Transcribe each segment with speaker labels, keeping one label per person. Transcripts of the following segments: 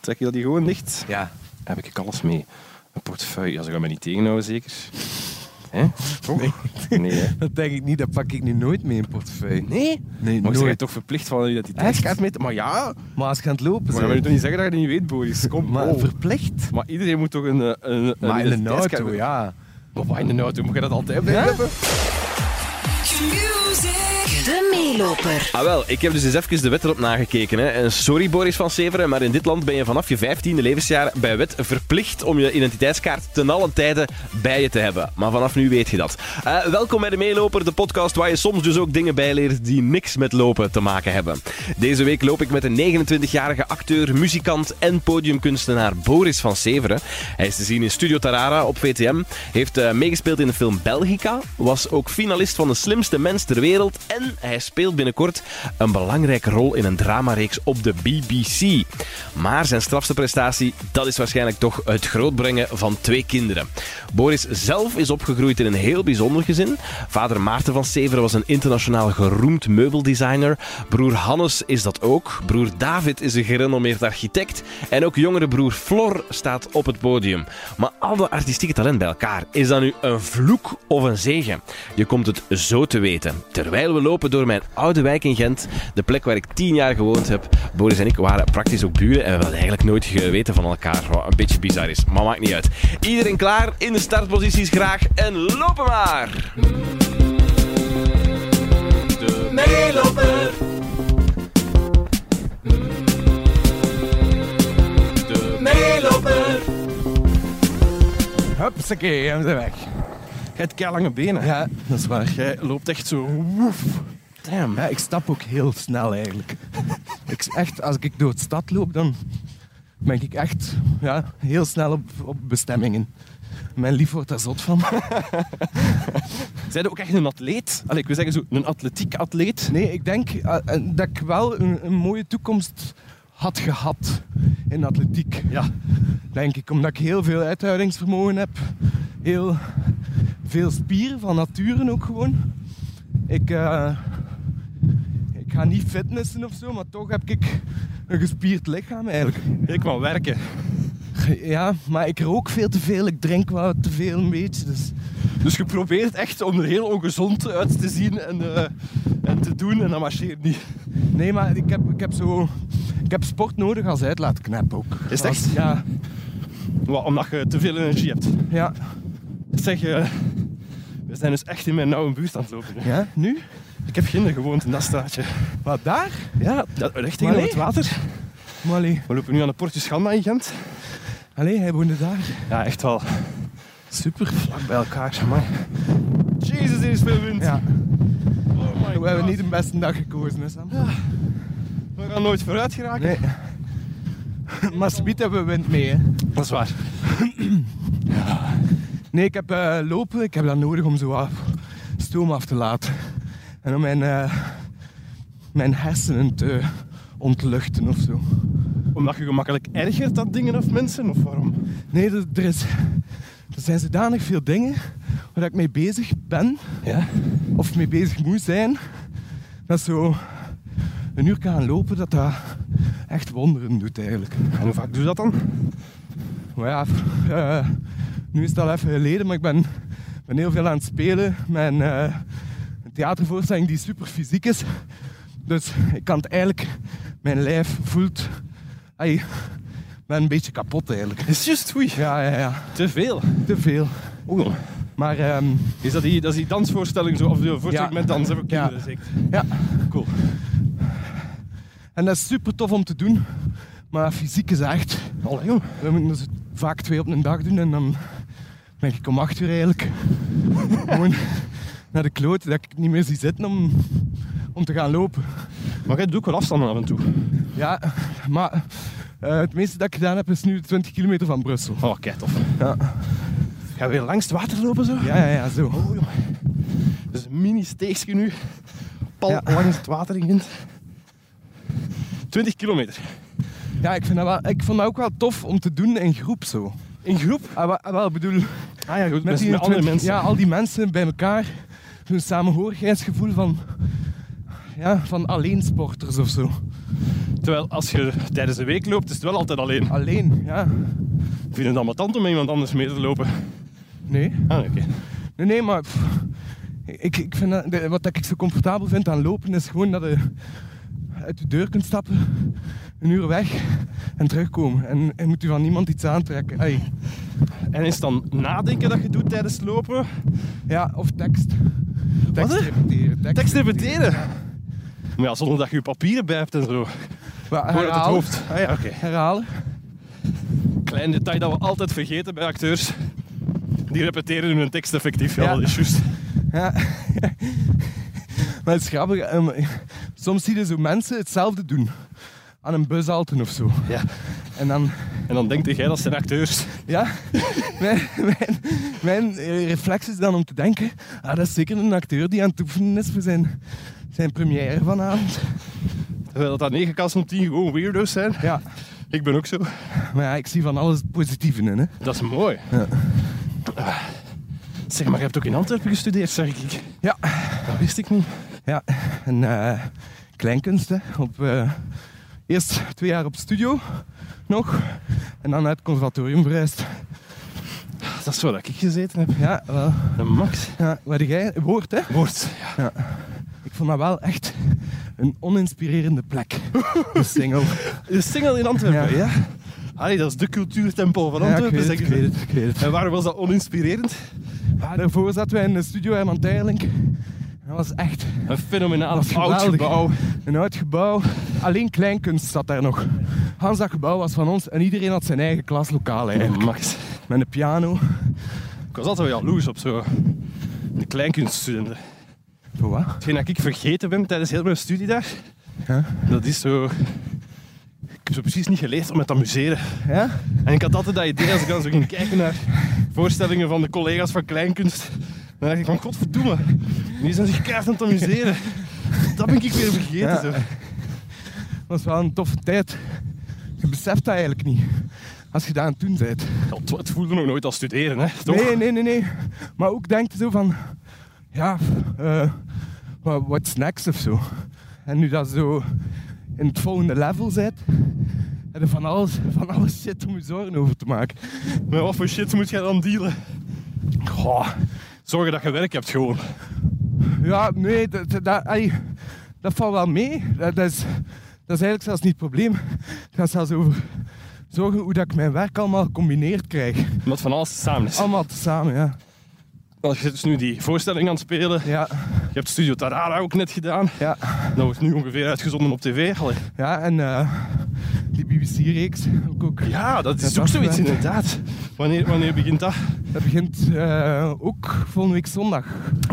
Speaker 1: trek je die gewoon dicht.
Speaker 2: Ja.
Speaker 1: Heb ik alles mee. Een portefeuille, ja, ze gaan me niet tegenhouden zeker. Hè?
Speaker 2: Toch?
Speaker 1: Nee, hè?
Speaker 2: Dat denk ik niet, dat pak ik nu nooit mee in portefeuille.
Speaker 1: Nee?
Speaker 2: Nee,
Speaker 1: Maar ze
Speaker 2: nooit.
Speaker 1: je toch verplicht van je
Speaker 2: Echt?
Speaker 1: identiteitskaart mee te... Maar ja, maar
Speaker 2: Maar als je aan het lopen
Speaker 1: dan wil je
Speaker 2: bent.
Speaker 1: toch niet zeggen dat je dat niet weet, Boris. Kom,
Speaker 2: Maar
Speaker 1: oh.
Speaker 2: verplicht?
Speaker 1: Maar iedereen moet toch een... eh, een, een
Speaker 2: Maar in een
Speaker 1: identiteitskaart
Speaker 2: auto,
Speaker 1: mee-
Speaker 2: ja.
Speaker 1: Maar wat in de auto? Moet je dat altijd bij
Speaker 2: Ja?
Speaker 1: hebben?
Speaker 3: De meeloper.
Speaker 4: Ah wel, ik heb dus eens even de wet erop nagekeken. Hè. En sorry Boris van Severen, maar in dit land ben je vanaf je 15e levensjaar bij wet verplicht om je identiteitskaart ten allen tijde bij je te hebben. Maar vanaf nu weet je dat. Eh, welkom bij De Meeloper, de podcast waar je soms dus ook dingen bijleert die niks met lopen te maken hebben. Deze week loop ik met een 29-jarige acteur, muzikant en podiumkunstenaar Boris van Severen. Hij is te zien in Studio Tarara op VTM, heeft eh, meegespeeld in de film Belgica, was ook finalist van de slimste mens ter wereld en hij speelt binnenkort een belangrijke rol in een dramareeks op de BBC. Maar zijn strafste prestatie, dat is waarschijnlijk toch het grootbrengen van twee kinderen. Boris zelf is opgegroeid in een heel bijzonder gezin. Vader Maarten van Severen was een internationaal geroemd meubeldesigner. Broer Hannes is dat ook. Broer David is een gerenommeerd architect. En ook jongere broer Flor staat op het podium. Maar al dat artistieke talent bij elkaar, is dat nu een vloek of een zegen? Je komt het zo te weten. Terwijl we lopen door mijn oude wijk in Gent, de plek waar ik tien jaar gewoond heb. Boris en ik waren praktisch ook buren en we hadden eigenlijk nooit geweten van elkaar. Wat een beetje bizar is, maar maakt niet uit. Iedereen klaar, in de startposities graag en lopen maar! De meeloper. De meeloper.
Speaker 2: Hupsakee, en we zijn weg.
Speaker 1: Je hebt kei lange benen.
Speaker 2: Ja, dat is waar.
Speaker 1: Jij loopt echt zo... Woef. Damn.
Speaker 2: Ja, ik stap ook heel snel eigenlijk. ik, echt, als ik door de stad loop, dan ben ik echt ja, heel snel op, op bestemmingen. Mijn lief wordt daar zot van.
Speaker 1: Zijn ook echt een atleet? Allee, ik wil zeggen, zo, een atletiek atleet.
Speaker 2: Nee, ik denk eh, eh, dat ik wel een, een mooie toekomst had gehad in atletiek.
Speaker 1: Ja.
Speaker 2: Denk ik, omdat ik heel veel uithoudingsvermogen heb. Heel veel spier van nature ook gewoon. Ik, eh, ik ga niet fitnessen of zo, maar toch heb ik een gespierd lichaam eigenlijk.
Speaker 1: Ik kan werken.
Speaker 2: Ja, maar ik rook veel te veel, ik drink wel te veel een beetje. Dus
Speaker 1: Dus je probeert echt om er heel ongezond uit te zien en, eh, en te doen en dat marcheert niet.
Speaker 2: Nee, maar ik heb, ik heb zo... Ik heb sport nodig als uitlaatknep ook.
Speaker 1: Is het
Speaker 2: Als-
Speaker 1: echt?
Speaker 2: Ja,
Speaker 1: Wat, omdat je te veel energie hebt.
Speaker 2: ja.
Speaker 1: Zeg, eh, we zijn dus echt in mijn nauwe buurt aan het lopen. nu.
Speaker 2: Ja, nu?
Speaker 1: Ik heb ginder gewoond in dat straatje.
Speaker 2: Wat, daar?
Speaker 1: Ja, dat, recht tegenover
Speaker 2: nee.
Speaker 1: het water.
Speaker 2: Maar allee,
Speaker 1: We lopen nu aan de Portus Schanda in Gent.
Speaker 2: allee, hij woonde daar.
Speaker 1: Ja, echt wel.
Speaker 2: Super. Vlak bij elkaar, maar.
Speaker 1: Jezus, hier is veel wind.
Speaker 2: Ja,
Speaker 1: Oh my
Speaker 2: we hebben
Speaker 1: God.
Speaker 2: niet de beste dag gekozen, hè Sam?
Speaker 1: We gaan nooit vooruit geraken.
Speaker 2: Nee. Maar Smit hebben we wind mee, hè.
Speaker 1: Dat is waar.
Speaker 2: Nee, ik heb eh, lopen, ik heb dat nodig om zo af, stoom af te laten. En om mijn, eh, mijn hersenen te ontluchten of zo.
Speaker 1: Omdat je gemakkelijk ergert aan dingen of mensen, of waarom?
Speaker 2: Nee, er, er is, er zijn zodanig veel dingen waar ik mee bezig ben,
Speaker 1: Ja.
Speaker 2: of mee bezig moet zijn, dat zo een uur gaan lopen, dat dat echt wonderen doet eigenlijk.
Speaker 1: En hoe vaak doe je dat dan?
Speaker 2: Maar ja, f- eh, nu is het al even geleden, maar ik ben, ben heel veel aan het spelen. Mijn eh, een theatervoorstelling die super fysiek is. Dus ik kan het eigenlijk, mijn lijf voelt, ai, ik ben een beetje kapot eigenlijk.
Speaker 1: Is juist, oei.
Speaker 2: Ja, ja, ja,
Speaker 1: Te veel.
Speaker 2: te veel.
Speaker 1: Oeh.
Speaker 2: Maar ehm,
Speaker 1: Is dat die, dat is die dansvoorstelling, zo, of die voorstelling
Speaker 2: Ja.
Speaker 1: met dansen voor
Speaker 2: Ja.
Speaker 1: kinderen, zeker?
Speaker 2: ja,
Speaker 1: Cool.
Speaker 2: en dat is super tof om te doen. Maar fysiek is echt,
Speaker 1: Allee, jong.
Speaker 2: we moeten dus vaak twee op een dag doen en dan ben ik om acht uur eigenlijk gewoon naar de kloot dat ik niet meer zie zitten om, om te gaan lopen.
Speaker 1: Maar jij doet ook wel afstanden af en toe.
Speaker 2: Ja, maar eh, het meeste dat ik gedaan heb is nu 20 kilometer van Brussel.
Speaker 1: Oh, kijk, tof.
Speaker 2: Ja.
Speaker 1: Ga je weer langs het water lopen, zo?
Speaker 2: Ja, ja, ja, zo.
Speaker 1: Oh, jong. Dat is een mini-steegje nu. Pal
Speaker 2: Ja.
Speaker 1: langs het water in Gent. 20 kilometer.
Speaker 2: Ja, ik, vind dat wel, ik vond dat ook wel tof om te doen in groep zo.
Speaker 1: In groep?
Speaker 2: Ah, wel, ah, wel, ik bedoel,
Speaker 1: Ah ja, goed. Met,
Speaker 2: die
Speaker 1: met andere
Speaker 2: 20
Speaker 1: mensen.
Speaker 2: Ja, al die mensen bij elkaar. Zo'n samenhorigheidsgevoel van, ja, van alleensporters of zo.
Speaker 1: Terwijl als je tijdens de week loopt, is het wel altijd alleen.
Speaker 2: Alleen, ja.
Speaker 1: Vind het ambetant om met iemand anders mee te lopen?
Speaker 2: Nee.
Speaker 1: Ah, oké.
Speaker 2: Nee, nee, maar pff, ik, ik vind dat, de- wat dat ik zo comfortabel vind aan lopen is gewoon dat je uit de deur kunt stappen, een uur weg en terugkomen. En, en moet u van niemand iets aantrekken. Ai,
Speaker 1: En is het dan nadenken dat je doet tijdens het lopen?
Speaker 2: ja, of tekst. Tekst
Speaker 1: hè?
Speaker 2: repeteren.
Speaker 1: Tekst repeteren? Maar ja, zonder dat je je papieren bij hebt en zo.
Speaker 2: Wa-
Speaker 1: Gewoon uit het
Speaker 2: herhalen.
Speaker 1: hoofd. Ah ja, oké.
Speaker 2: Herhalen.
Speaker 1: Klein detail dat we altijd vergeten bij acteurs. Die repeteren hun tekst effectief. Ja,
Speaker 2: Ja.
Speaker 1: dat is juist.
Speaker 2: Ja. maar het is grappig. ehm, soms zie je zo mensen hetzelfde doen. Aan een bushalte of zo.
Speaker 1: Ja.
Speaker 2: En dan
Speaker 1: En dan denk jij dat zijn acteurs.
Speaker 2: Ja, mijn, mijn, mijn eh, reflex is dan om te denken: ah, dat is zeker een acteur die aan het oefenen is voor zijn, zijn première vanavond.
Speaker 1: Terwijl dat aan 9 kast op 10 gewoon weirdo's zijn.
Speaker 2: Ja,
Speaker 1: Ik ben ook zo.
Speaker 2: maar ja, ik zie van alles het positieve in. Hè.
Speaker 1: Dat is mooi.
Speaker 2: Ja.
Speaker 1: Ah. Zeg, maar je hebt ook in Antwerpen gestudeerd, zeg ik.
Speaker 2: Ja,
Speaker 1: Dat wist ik niet.
Speaker 2: ja. en eh, kleinkunst. Hè, op, eh, eerst twee jaar op studio nog, en dan naar het conservatorium verhuisd.
Speaker 1: Dat is waar dat ik gezeten heb.
Speaker 2: Ja, wel.
Speaker 1: De max.
Speaker 2: Ja, wat heb jij woord, hè?
Speaker 1: Woord.
Speaker 2: Ik vond dat wel echt een oninspirerende plek. De single.
Speaker 1: De single in Antwerpen, ja?
Speaker 2: Ja.
Speaker 1: Allee, dat is de cultuurtempel van
Speaker 2: Ja, ik
Speaker 1: Antwerpen,
Speaker 2: weet het,
Speaker 1: zeg
Speaker 2: ik
Speaker 1: ik.
Speaker 2: weet het, ik weet het.
Speaker 1: En waarom was dat oninspirerend?
Speaker 2: Ja, daarvoor zaten wij in de studio Herman Teirlink. Dat was echt
Speaker 1: Een fenomenaal oud
Speaker 2: geweldig.
Speaker 1: gebouw.
Speaker 2: een oud gebouw. Alleen kleinkunst zat daar nog. Hans dat gebouw was van ons en iedereen had zijn eigen klaslokaal eigenlijk.
Speaker 1: Max.
Speaker 2: Met een piano.
Speaker 1: Ik was altijd wel jaloers op zo. De kleinkunststudenten.
Speaker 2: Voor wat?
Speaker 1: Hetgeen dat ik vergeten ben tijdens heel mijn studie daar,
Speaker 2: Ja?
Speaker 1: dat is zo... Ik heb zo precies niet geleerd om me te amuseren.
Speaker 2: Ja?
Speaker 1: En ik had altijd dat idee, als ik dan zo ging kijken naar voorstellingen van de collega's van Kleinkunst, dan dacht ik van, godverdomme, die zijn zich keihard aan het amuseren. Dat ben ik weer vergeten.
Speaker 2: Ja.
Speaker 1: Zo.
Speaker 2: Dat was wel een toffe tijd. Je beseft dat eigenlijk niet. Als je daar aan het doen bent.
Speaker 1: Ja, het- het voelde nog nooit als studeren, hè? Toch?
Speaker 2: Nee, nee, nee, nee. Maar ook denk je zo van... Ja, eh wha- what's next of zo. En nu dat zo in het volgende level zit, heb je van alles, van alles shit om je zorgen over te maken.
Speaker 1: Met wat voor shit moet jij dan dealen?
Speaker 2: Goh,
Speaker 1: Zorgen dat je werk hebt gewoon.
Speaker 2: ja, nee, dat, dat, dat- ai, dat valt wel mee. Dat, dat is, dat is eigenlijk zelfs niet het probleem. Het gaat zelfs over zorgen hoe dat ik mijn werk allemaal gecombineerd krijg.
Speaker 1: Omdat van alles samen is.
Speaker 2: Allemaal tezamen, ja.
Speaker 1: Als je dus nu die voorstelling aan het spelen,
Speaker 2: Ja,
Speaker 1: je hebt Studio Tarara ook net gedaan,
Speaker 2: ja.
Speaker 1: dat wordt nu ongeveer uitgezonden op tv. Allee.
Speaker 2: ja en eh, die BBC-reeks ook. ook.
Speaker 1: Ja, dat is
Speaker 2: Dat
Speaker 1: ook
Speaker 2: was
Speaker 1: zoiets
Speaker 2: wel.
Speaker 1: inderdaad. Wanneer, wanneer begint dat?
Speaker 2: Dat begint eh, ook volgende week zondag.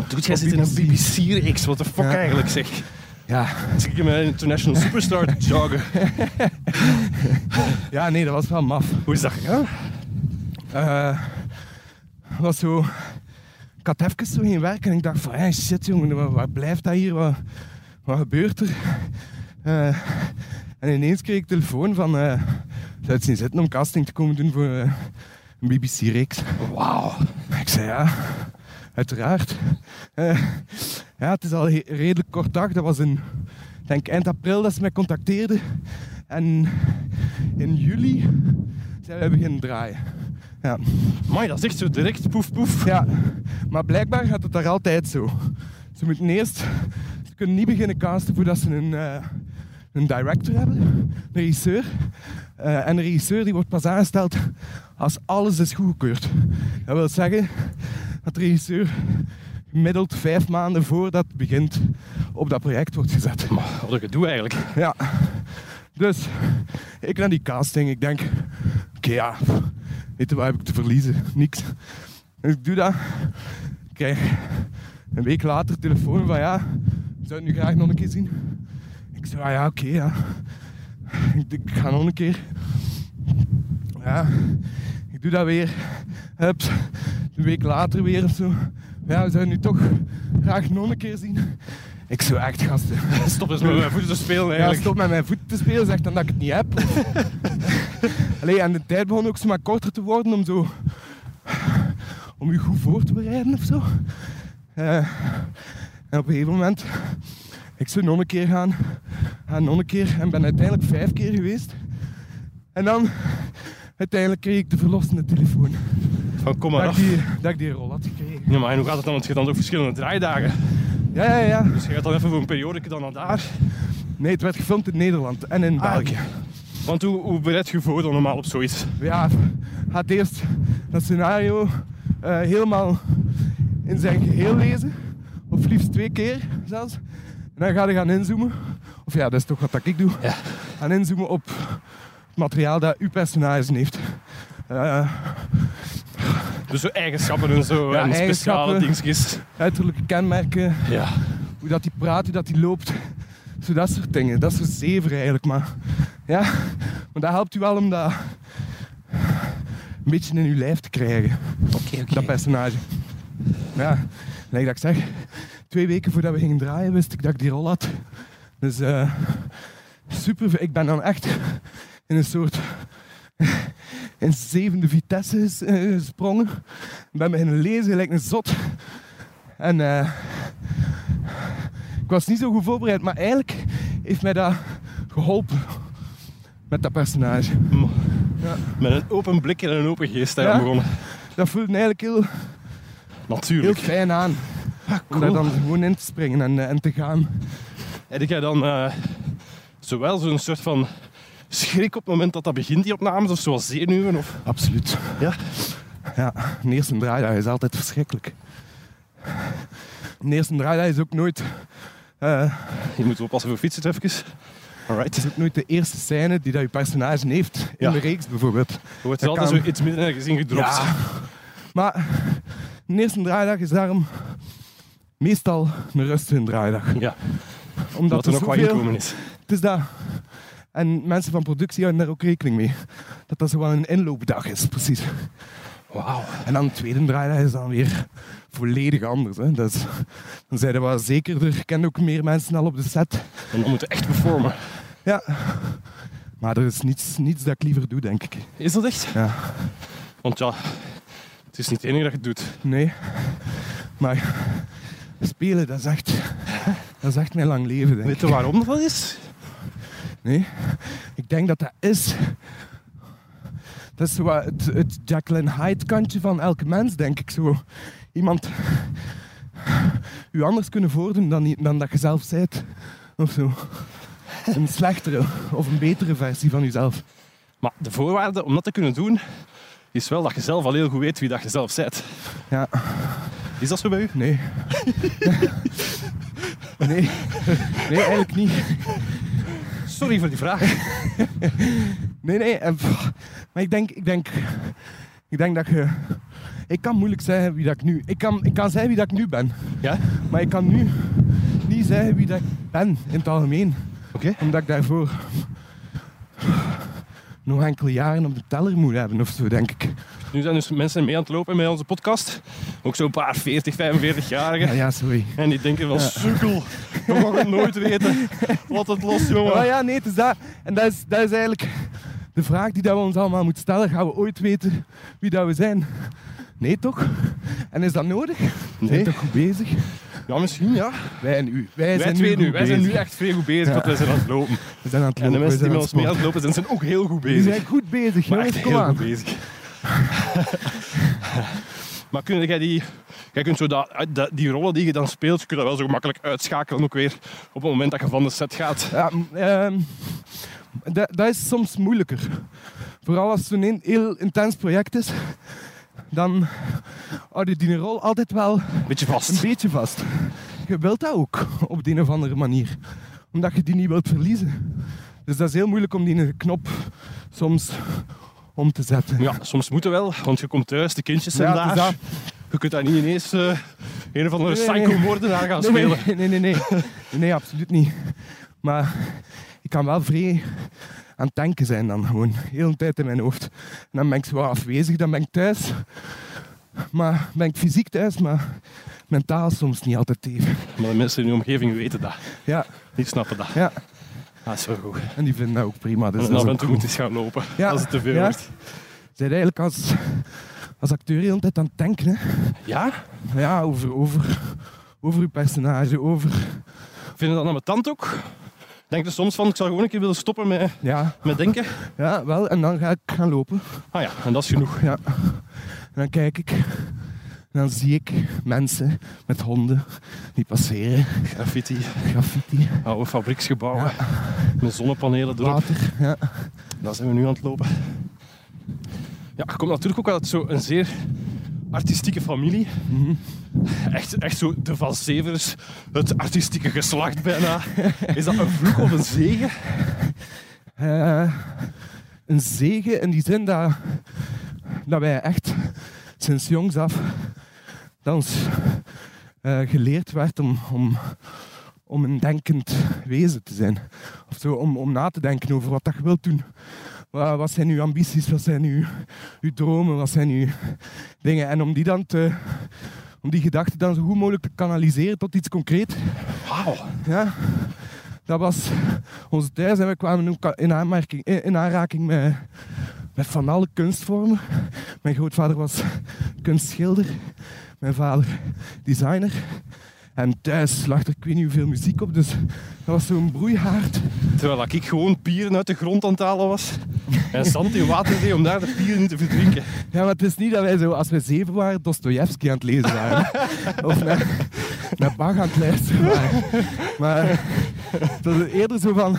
Speaker 1: Doet
Speaker 2: jij zit in een
Speaker 1: BBC-reeks, wat de fuck
Speaker 2: Ja.
Speaker 1: eigenlijk zeg.
Speaker 2: Ja.
Speaker 1: Als ik in mijn international superstar te joggen,
Speaker 2: ja, nee, dat was wel maf.
Speaker 1: hoe is dat gegaan?
Speaker 2: Eh, dat was zo... Ik had even zo geen werk en ik dacht van, hey, shit jongen, waar, waar blijft dat hier? Wat, wat gebeurt er? Eh, en ineens kreeg ik telefoon van... eh zou het zien zitten om casting te komen doen voor eh, een BBC-reeks?
Speaker 1: Wauw.
Speaker 2: Ik zei ja, uiteraard. Eh, ja, het is al he- redelijk kort dag. Dat was in, ik denk eind april dat ze mij contacteerden. En in juli zijn wij beginnen draaien. Ja.
Speaker 1: Maar dat is echt zo direct poef poef.
Speaker 2: ja, maar blijkbaar gaat het daar altijd zo. Ze moeten eerst, ze kunnen niet beginnen casten voordat ze een, eh, een director hebben, een regisseur. Eh, en de regisseur die wordt pas aangesteld als alles is goedgekeurd. Dat wil zeggen dat de regisseur gemiddeld vijf maanden voordat het begint op dat project wordt gezet.
Speaker 1: Maar wat een gedoe eigenlijk.
Speaker 2: Ja. Dus ik naar die casting. Ik denk, oké ja, weet je, wat heb ik te verliezen? Niks. Dus ik doe dat. Ik krijg een week later telefoon van ja, ik zou het nu graag nog een keer zien. Ik zei, ah ja, oké ja. Ik, denk, ik ga nog een keer. Ja, ik doe dat weer. Hups, een week later weer of zo. Ja, we zouden nu toch graag nog een keer zien. Ik zo echt gasten.
Speaker 1: Stop eens met mijn voeten te spelen
Speaker 2: Ja,
Speaker 1: eigenlijk.
Speaker 2: stop met mijn voeten te spelen, zeg dan dat ik het niet heb. Allee, en de tijd begon ook maar korter te worden om zo... Om je goed voor te bereiden of zo. Eh, en op een gegeven moment Ik zou nog een keer gaan, en nog een keer en ben uiteindelijk vijf keer geweest. En dan, uiteindelijk kreeg ik de verlossende telefoon.
Speaker 1: Van Oh, kom maar
Speaker 2: Dat ik,
Speaker 1: af.
Speaker 2: die, dat ik die rol had gekregen.
Speaker 1: Ja, maar en hoe gaat het dan? Want je hebt dan ook verschillende draaidagen.
Speaker 2: Ja, ja, ja.
Speaker 1: Dus je gaat dan even voor een periode dan naar daar.
Speaker 2: Nee, het werd gefilmd in Nederland en in
Speaker 1: Ah,
Speaker 2: België.
Speaker 1: Want hoe, hoe bereid je voor dan normaal op zoiets?
Speaker 2: Ja, gaat eerst dat scenario eh, helemaal in zijn geheel lezen. Of liefst twee keer zelfs. En dan ga je gaan inzoomen. Of ja, dat is toch wat dat ik doe. Gaan inzoomen op het materiaal dat uw personage heeft. Eh,
Speaker 1: Dus zo eigenschappen en zo.
Speaker 2: Ja,
Speaker 1: en speciale
Speaker 2: eigenschappen.
Speaker 1: dingetjes.
Speaker 2: uiterlijke kenmerken,
Speaker 1: Ja.
Speaker 2: hoe dat die praat, hoe dat die loopt. Zo dat soort dingen. Dat is zo zever eigenlijk. Maar, ja, maar dat helpt u wel om dat een beetje in uw lijf te krijgen. Dat personage. Ja, lijkt dat ik zeg. Twee weken voordat we gingen draaien wist ik dat ik die rol had. Dus eh, super. Ik ben dan echt in een soort in zevende vitesse ges- eh, gesprongen. Ik ben beginnen lezen, gelijk een zot. En eh, ik was niet zo goed voorbereid, maar eigenlijk heeft mij dat geholpen met dat personage.
Speaker 1: Met een open blik en een open geest daar
Speaker 2: Ja.
Speaker 1: begonnen.
Speaker 2: Dat voelde me eigenlijk heel heel
Speaker 1: Natuurlijk.
Speaker 2: fijn aan. Om daar dan gewoon in te springen en, eh, en te gaan.
Speaker 1: Heb jij dan eh, zowel zo'n soort van schrik op het moment dat dat begint, die opnames, of zoals zenuwen? Of...
Speaker 2: Absoluut.
Speaker 1: Ja.
Speaker 2: Ja, een eerste draaidag is altijd verschrikkelijk. Een eerste draaidag is ook nooit, eh,
Speaker 1: Je moet oppassen voor fietsen even. Alright.
Speaker 2: is ook nooit de eerste scène die dat je personage heeft. In
Speaker 1: Ja.
Speaker 2: de reeks bijvoorbeeld.
Speaker 1: Je wordt
Speaker 2: Dat
Speaker 1: altijd
Speaker 2: kan.
Speaker 1: zo iets midden in je gezin gedropt.
Speaker 2: Ja. Maar een eerste draaidag is daarom meestal een rustige draaidag.
Speaker 1: Ja,
Speaker 2: Omdat
Speaker 1: dat er nog wat
Speaker 2: zoveel-
Speaker 1: inkomen is.
Speaker 2: Het is dat. En mensen van productie houden daar ook rekening mee. Dat dat zo wel een inloopdag is, precies.
Speaker 1: Wauw.
Speaker 2: En dan de tweede draaidag is dan weer volledig anders. Hè. Dat is, dan zijn er wel zekerder. Ik ken ook meer mensen al op de set.
Speaker 1: En dan moeten we echt performen.
Speaker 2: Ja. Maar er is niets, niets dat ik liever doe, denk ik.
Speaker 1: Is dat echt?
Speaker 2: Ja.
Speaker 1: Want ja, het is niet het enige dat je het doet.
Speaker 2: Nee. Maar spelen, dat is echt, dat is echt mijn lang leven, denk
Speaker 1: Weet
Speaker 2: ik.
Speaker 1: je waarom dat is?
Speaker 2: Nee. Ik denk dat dat is... Dat is zo wat het, het Jacqueline Hyde kantje van elke mens, denk ik. Zo iemand... U anders kunnen voordoen dan, i- dan dat je zelf zijt. Of zo. Een slechtere of een betere versie van jezelf.
Speaker 1: Maar de voorwaarde om dat te kunnen doen, is wel dat je zelf al heel goed weet wie dat je zelf bent.
Speaker 2: Ja,
Speaker 1: Is dat zo bij u?
Speaker 2: nee. Nee, nee eigenlijk niet.
Speaker 1: Sorry voor die vraag.
Speaker 2: Nee, nee. eh, pff. Maar ik denk, ik denk, ik denk dat je. Ik kan moeilijk zeggen wie dat ik nu. Ik kan, ik kan zeggen wie dat ik nu ben.
Speaker 1: Ja?
Speaker 2: Maar ik kan nu niet zeggen wie dat ik ben in het algemeen.
Speaker 1: Oké.
Speaker 2: Omdat ik daarvoor nog enkele jaren op de teller moet hebben of zo, denk ik.
Speaker 1: Nu zijn dus mensen mee aan het lopen met onze podcast. Ook zo'n paar 40, 45-jarigen.
Speaker 2: Ah, Ja, ja sorry.
Speaker 1: En die denken van, sukkel, we gaan het nooit weten. Laat het los, jongen.
Speaker 2: Maar Oh ja, nee, het is dat. En dat is, dat is eigenlijk de vraag die dat we ons allemaal moeten stellen. Gaan we ooit weten wie dat we zijn? Nee, toch? En is dat nodig? We
Speaker 1: Nee.
Speaker 2: Zijn toch goed bezig?
Speaker 1: Ja, misschien, ja.
Speaker 2: Wij en u. Wij,
Speaker 1: Wij
Speaker 2: zijn
Speaker 1: twee
Speaker 2: nu
Speaker 1: nu.
Speaker 2: goed
Speaker 1: Wij zijn nu
Speaker 2: bezig.
Speaker 1: echt veel goed bezig,
Speaker 2: Ja.
Speaker 1: want wij zijn aan het lopen.
Speaker 2: We zijn aan het
Speaker 1: En
Speaker 2: lopen.
Speaker 1: de mensen die
Speaker 2: we
Speaker 1: met
Speaker 2: zijn
Speaker 1: ons mee aan
Speaker 2: aan
Speaker 1: het lopen zijn, zijn ook heel goed
Speaker 2: sporten. Die
Speaker 1: bezig.
Speaker 2: zijn goed bezig,
Speaker 1: Maar echt
Speaker 2: jongens. Kom
Speaker 1: heel goed
Speaker 2: aan.
Speaker 1: bezig. maar kun jij die... Jij kunt zo dat, dat- die rollen die je dan speelt, kun je dat wel zo makkelijk uitschakelen ook weer op het moment dat je van de set gaat.
Speaker 2: Ja, m- ehm, dat, dat is soms moeilijker. Vooral als het een heel- heel intens project is, dan houd je die rol altijd wel
Speaker 1: Beetje
Speaker 2: een
Speaker 1: vast.
Speaker 2: beetje vast. Je wilt dat ook op de een of andere manier, omdat je die niet wilt verliezen. Dus dat is heel moeilijk om die knop soms om te zetten.
Speaker 1: Ja, soms moeten wel, want je komt thuis, de kindjes zijn
Speaker 2: Ja, het
Speaker 1: daar.
Speaker 2: is dat.
Speaker 1: Je kunt daar niet ineens eh, een of andere
Speaker 2: Nee, nee.
Speaker 1: psycho-moordenaar gaan
Speaker 2: nee,
Speaker 1: spelen.
Speaker 2: Nee, nee, nee, nee. Nee, absoluut niet. Maar ik kan wel vrij aan het tanken zijn dan gewoon. Heel de tijd in mijn hoofd. En dan ben ik zo wat afwezig, dan ben ik thuis. Maar ben ik fysiek thuis, maar mentaal soms niet altijd even.
Speaker 1: Maar de mensen in je omgeving weten dat.
Speaker 2: Ja,
Speaker 1: Die snappen dat.
Speaker 2: ja.
Speaker 1: Dat is wel goed.
Speaker 2: En die vinden dat ook prima. Dus
Speaker 1: En dan
Speaker 2: dat is
Speaker 1: af en
Speaker 2: ook
Speaker 1: toe
Speaker 2: cool.
Speaker 1: moet eens gaan lopen
Speaker 2: Ja,
Speaker 1: als het te veel
Speaker 2: ja.
Speaker 1: wordt.
Speaker 2: Zijn eigenlijk als, als acteur heel de tijd aan het tanken. Hè?
Speaker 1: Ja?
Speaker 2: Ja, over, over, over uw personage, over
Speaker 1: vind dat aan mijn tand ook. Ik denk er soms van, ik zou gewoon een keer willen stoppen met,
Speaker 2: Ja,
Speaker 1: met denken.
Speaker 2: ja, wel. En dan ga ik gaan lopen.
Speaker 1: Ah ja, en dat is genoeg.
Speaker 2: Ja. En dan kijk ik. En dan zie ik mensen met honden die passeren.
Speaker 1: Graffiti,
Speaker 2: Graffiti,
Speaker 1: oude fabrieksgebouwen, met zonnepanelen erop.
Speaker 2: water. Ja.
Speaker 1: Daar zijn we nu aan het lopen. Ja, komt natuurlijk ook uit zo'n zeer artistieke familie. Echt, echt zo de Van Severs, het artistieke geslacht bijna. Is dat een vloek of een zegen?
Speaker 2: Eh, een zegen in die zin dat, dat wij echt sinds jongs af dat ons eh, geleerd werd om, om, om een denkend wezen te zijn. Of zo, om, om na te denken over wat dat je wilt doen. Wa- Wat zijn uw ambities, wat zijn uw, uw dromen, wat zijn uw dingen. En om die, dan te, om die gedachten dan zo goed mogelijk te kanaliseren tot iets concreets,
Speaker 1: Wauw.
Speaker 2: ja, dat was ons thuis en we kwamen ook in, aanmerking, in in aanraking met, met van alle kunstvormen. Mijn grootvader was kunstschilder, mijn vader designer. En thuis lag er ik weet niet hoeveel muziek op, dus dat was zo'n broeihaard.
Speaker 1: Terwijl ik gewoon pieren uit de grond aan het halen was. En zand in water deed om daar de pieren in te verdrinken.
Speaker 2: Ja, maar het is niet dat wij zo, als we zeven waren, Dostojevski aan het lezen waren. of naar, naar Bach aan het luisteren waren. Maar het was eerder zo van,
Speaker 1: Moet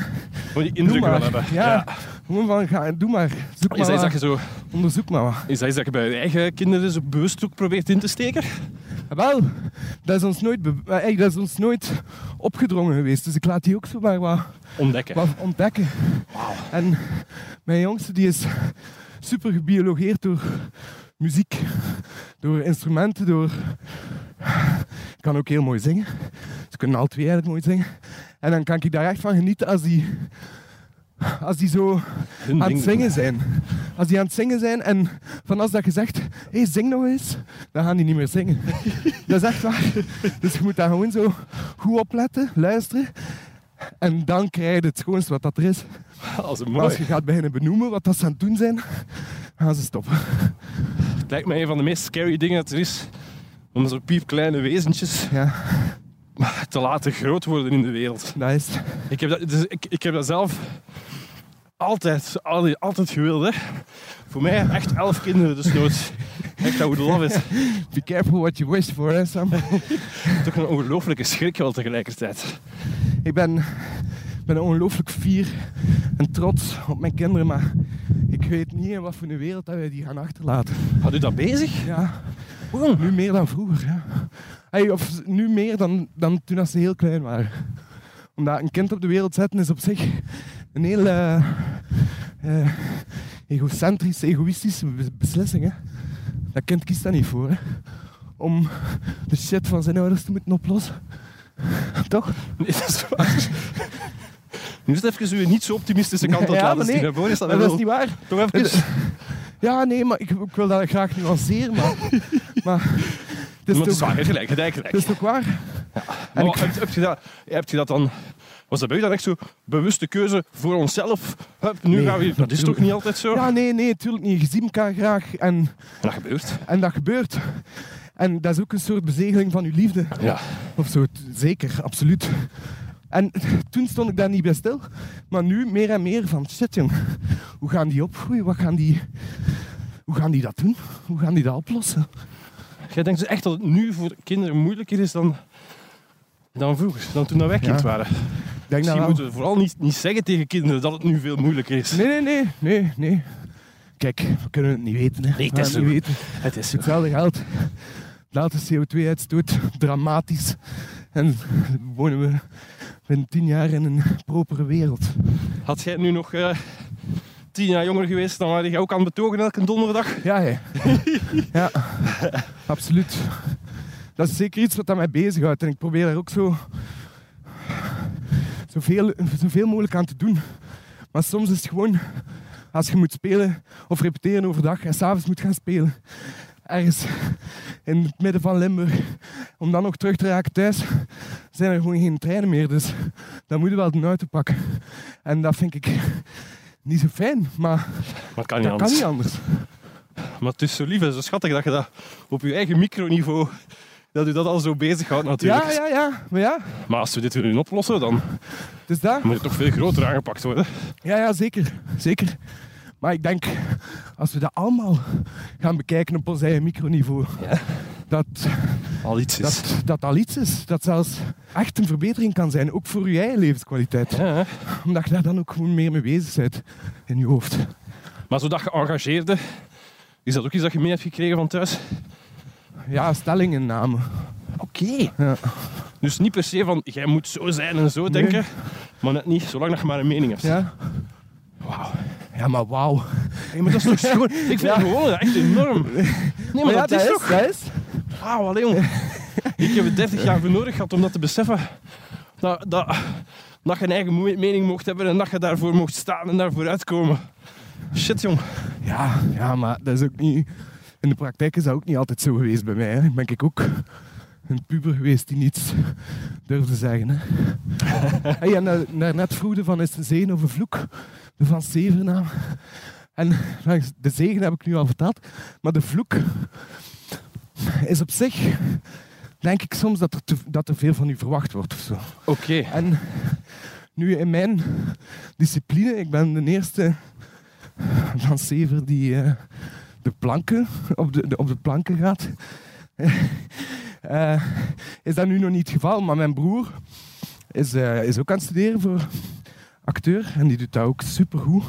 Speaker 1: je
Speaker 2: doe
Speaker 1: indruk wel
Speaker 2: maar.
Speaker 1: hebben.
Speaker 2: Ja, gewoon van, ga, doe maar. Zoek maar
Speaker 1: Is dat, iets
Speaker 2: wat.
Speaker 1: dat je zo,
Speaker 2: Onderzoek maar wat.
Speaker 1: is dat iets dat je bij je eigen kinderen zo bewust ook probeert in te steken?
Speaker 2: Ah, Wel, dat is ons nooit, be- eh, eigenlijk, dat is ons nooit opgedrongen geweest. Dus ik laat die ook zomaar wat,
Speaker 1: Ontdekken.
Speaker 2: wat ontdekken. En mijn jongste die is super gebiologeerd door muziek, door instrumenten, door... Ik kan ook heel mooi zingen. Ze kunnen alle twee eigenlijk mooi zingen. En dan kan ik daar echt van genieten als die, als die zo
Speaker 1: Hun
Speaker 2: aan
Speaker 1: ding
Speaker 2: het
Speaker 1: doen.
Speaker 2: zingen zijn. Als die aan het zingen zijn en van als dat je zegt, hé, hey, zing nog eens, dan gaan die niet meer zingen. dat is echt waar. Dus je moet daar gewoon zo goed opletten, luisteren. En dan krijg je het schoonste wat dat er is.
Speaker 1: Dat is
Speaker 2: Maar als
Speaker 1: mooi.
Speaker 2: je gaat beginnen benoemen wat dat ze aan het doen zijn, gaan ze stoppen.
Speaker 1: Het lijkt me een van de meest scary dingen dat er is. Om zo'n piepkleine wezentjes
Speaker 2: Ja,
Speaker 1: te laten groot worden in de wereld.
Speaker 2: dat is...
Speaker 1: Ik heb dat, dus ik, ik heb dat zelf altijd, altijd, altijd gewild. Hè. Voor mij echt elf kinderen, dus nooit. Echt, dat would love it.
Speaker 2: Be careful what you wish for, hè, Sam.
Speaker 1: Toch een ongelooflijke schrik wel tegelijkertijd.
Speaker 2: Ik ben, ben ongelooflijk fier en trots op mijn kinderen, maar ik weet niet in wat voor een wereld dat wij die gaan achterlaten.
Speaker 1: Had u dat bezig?
Speaker 2: Ja, nu meer dan vroeger. Ja. Hey, of nu meer dan, dan toen als ze heel klein waren. Omdat een kind op de wereld zetten is op zich een heel eh, eh, egocentrische, egoïstische be- beslissing. Hè. Dat kind kiest daar niet voor. Hè. Om de shit van zijn ouders te moeten oplossen. Toch?
Speaker 1: Nee, dat is waar. Nu is het even uw niet zo optimistische kant aan het
Speaker 2: Ja,
Speaker 1: laten
Speaker 2: maar nee,
Speaker 1: zien. hè, Boris, dat
Speaker 2: Maar dat is
Speaker 1: wil
Speaker 2: niet waar.
Speaker 1: toch even...
Speaker 2: Ja, nee, maar ik, ik wil dat graag nuanceren. Maar, maar het is
Speaker 1: Want het is
Speaker 2: toch-
Speaker 1: waar, hè, gelijk, gelijk,
Speaker 2: het is
Speaker 1: gelijk.
Speaker 2: toch waar?
Speaker 1: Maar heb, heb je dat, heb je dat dan... Was dat bij u dan echt zo bewuste keuze voor onszelf? Hup, nu
Speaker 2: Nee,
Speaker 1: gaan we... Dat is
Speaker 2: natuurlijk
Speaker 1: toch niet altijd zo?
Speaker 2: Ja, nee, nee, natuurlijk niet. Je ziet elkaar graag en,
Speaker 1: En dat gebeurt.
Speaker 2: en dat gebeurt. En dat is ook een soort bezegeling van uw liefde.
Speaker 1: Ja.
Speaker 2: Of zo, t- zeker, absoluut. En toen stond ik daar niet bij stil. Maar nu meer en meer van, shit jong, hoe gaan die opgroeien? Wat gaan die, hoe gaan die dat doen? Hoe gaan die dat oplossen?
Speaker 1: Jij denkt dus echt dat het nu voor kinderen moeilijker is dan, dan vroeger, dan toen dat wij kind
Speaker 2: Ja,
Speaker 1: waren.
Speaker 2: Ik denk dat
Speaker 1: Misschien
Speaker 2: wel.
Speaker 1: moeten we vooral niet, niet zeggen tegen kinderen dat het nu veel moeilijker is.
Speaker 2: Nee, nee, nee, nee, nee. Kijk, we kunnen het niet weten. Hè.
Speaker 1: Nee, het
Speaker 2: We
Speaker 1: is
Speaker 2: gaan het
Speaker 1: zo.
Speaker 2: niet weten.
Speaker 1: Het is zo.
Speaker 2: Hetzelfde geld. Laat de CO2-uitstoot dramatisch. En wonen we binnen tien jaar in een propere wereld.
Speaker 1: Had jij nu nog eh, tien jaar jonger geweest, dan waren jij ook aan het betogen elke donderdag.
Speaker 2: Ja, hè. ja. Absoluut. Dat is zeker iets wat dat mij bezighoudt. En ik probeer daar ook zo... Zoveel, zoveel mogelijk aan te doen. Maar soms is het gewoon... Als je moet spelen of repeteren overdag en s'avonds moet gaan spelen. Ergens in het midden van Limburg. Om dan nog terug te raken thuis. Zijn er gewoon geen treinen meer. Dus dan moet je wel de auto pakken. En dat vind ik niet zo fijn. Maar
Speaker 1: Maar het kan niet
Speaker 2: dat kan
Speaker 1: anders.
Speaker 2: niet anders.
Speaker 1: Maar het is zo lief en zo schattig dat je dat op je eigen microniveau dat u dat al zo bezighoudt natuurlijk.
Speaker 2: Ja, ja, ja. Maar ja,
Speaker 1: Maar als we dit willen oplossen, dan
Speaker 2: het is dat.
Speaker 1: moet het toch veel groter aangepakt worden.
Speaker 2: Ja, ja, zeker. Zeker. Maar ik denk, als we dat allemaal gaan bekijken op ons eigen microniveau, dat,
Speaker 1: Al iets is.
Speaker 2: dat dat al iets is. Dat zelfs echt een verbetering kan zijn, ook voor je eigen levenskwaliteit.
Speaker 1: Ja, hè.
Speaker 2: Omdat je daar dan ook gewoon meer mee bezig bent in je hoofd.
Speaker 1: Maar zodat geëngageerde, is dat ook iets dat je mee hebt gekregen van thuis?
Speaker 2: Ja, stellingen namen.
Speaker 1: Oké.
Speaker 2: Ja.
Speaker 1: Dus niet per se van, jij moet zo zijn en zo denken, maar net niet, zolang dat je maar een mening hebt.
Speaker 2: Ja?
Speaker 1: Wauw.
Speaker 2: Ja, maar wauw.
Speaker 1: Hey, maar dat is toch schoon? Ik vind
Speaker 2: Ja.
Speaker 1: dat gewoon echt enorm. Nee, maar,
Speaker 2: ja,
Speaker 1: dat, is toch...
Speaker 2: dat is.
Speaker 1: Wauw, allee, jong. Ik heb er 30 jaar voor nodig gehad om dat te beseffen. Dat, dat, dat je een eigen moe- mening mocht hebben en dat je daarvoor mocht staan en daarvoor uitkomen. Shit, jong.
Speaker 2: Ja, ja, maar dat is ook niet... In de praktijk is dat ook niet altijd zo geweest bij mij. Hè. Ben ik ook een puber geweest die niets durfde zeggen. Hè. hey, en daar- daarnet vroegen van, is het een zegen of een vloek? De Van Sevenaam. En langs- de zegen heb ik nu al verteld. Maar de vloek is op zich... Denk ik soms dat er, te, dat er veel van u verwacht wordt of zo.
Speaker 1: Oké.
Speaker 2: En nu in mijn discipline, ik ben de eerste van Sever die eh, de planken op de, de- op de planken gaat. Eh, is dat nu nog niet het geval, maar mijn broer is, eh, is ook aan het studeren voor acteur en die doet dat ook supergoed.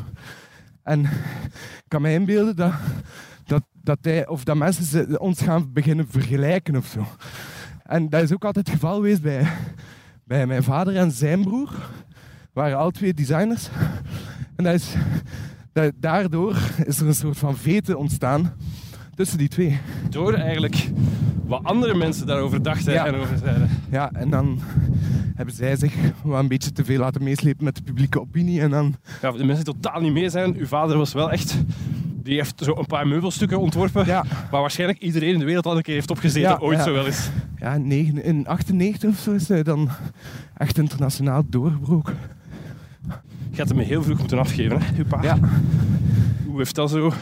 Speaker 2: En ik kan mij inbeelden dat, dat, dat, hij, of dat mensen ze- ons gaan beginnen vergelijken of zo. En dat is ook altijd het geval geweest bij, bij mijn vader en zijn broer. Waren al twee designers. En dat is, da- daardoor is er een soort van vete ontstaan tussen die twee.
Speaker 1: Door eigenlijk wat andere mensen daarover dachten
Speaker 2: Ja.
Speaker 1: en over zeiden.
Speaker 2: Ja, en dan hebben zij zich wel een beetje te veel laten meeslepen met de publieke opinie. En dan,
Speaker 1: Ja, de mensen die totaal niet mee zijn. Uw vader was wel echt... Die heeft zo een paar meubelstukken ontworpen.
Speaker 2: ja,
Speaker 1: Waar waarschijnlijk iedereen in de wereld al een keer heeft opgezeten.
Speaker 2: Ja,
Speaker 1: ooit
Speaker 2: ja.
Speaker 1: zo wel eens.
Speaker 2: ja in, negen, in 98 of zo is hij dan echt internationaal doorgebroken.
Speaker 1: Je had hem heel vroeg moeten afgeven, hè? Uw pa.
Speaker 2: Ja,
Speaker 1: Hoe heeft dat zo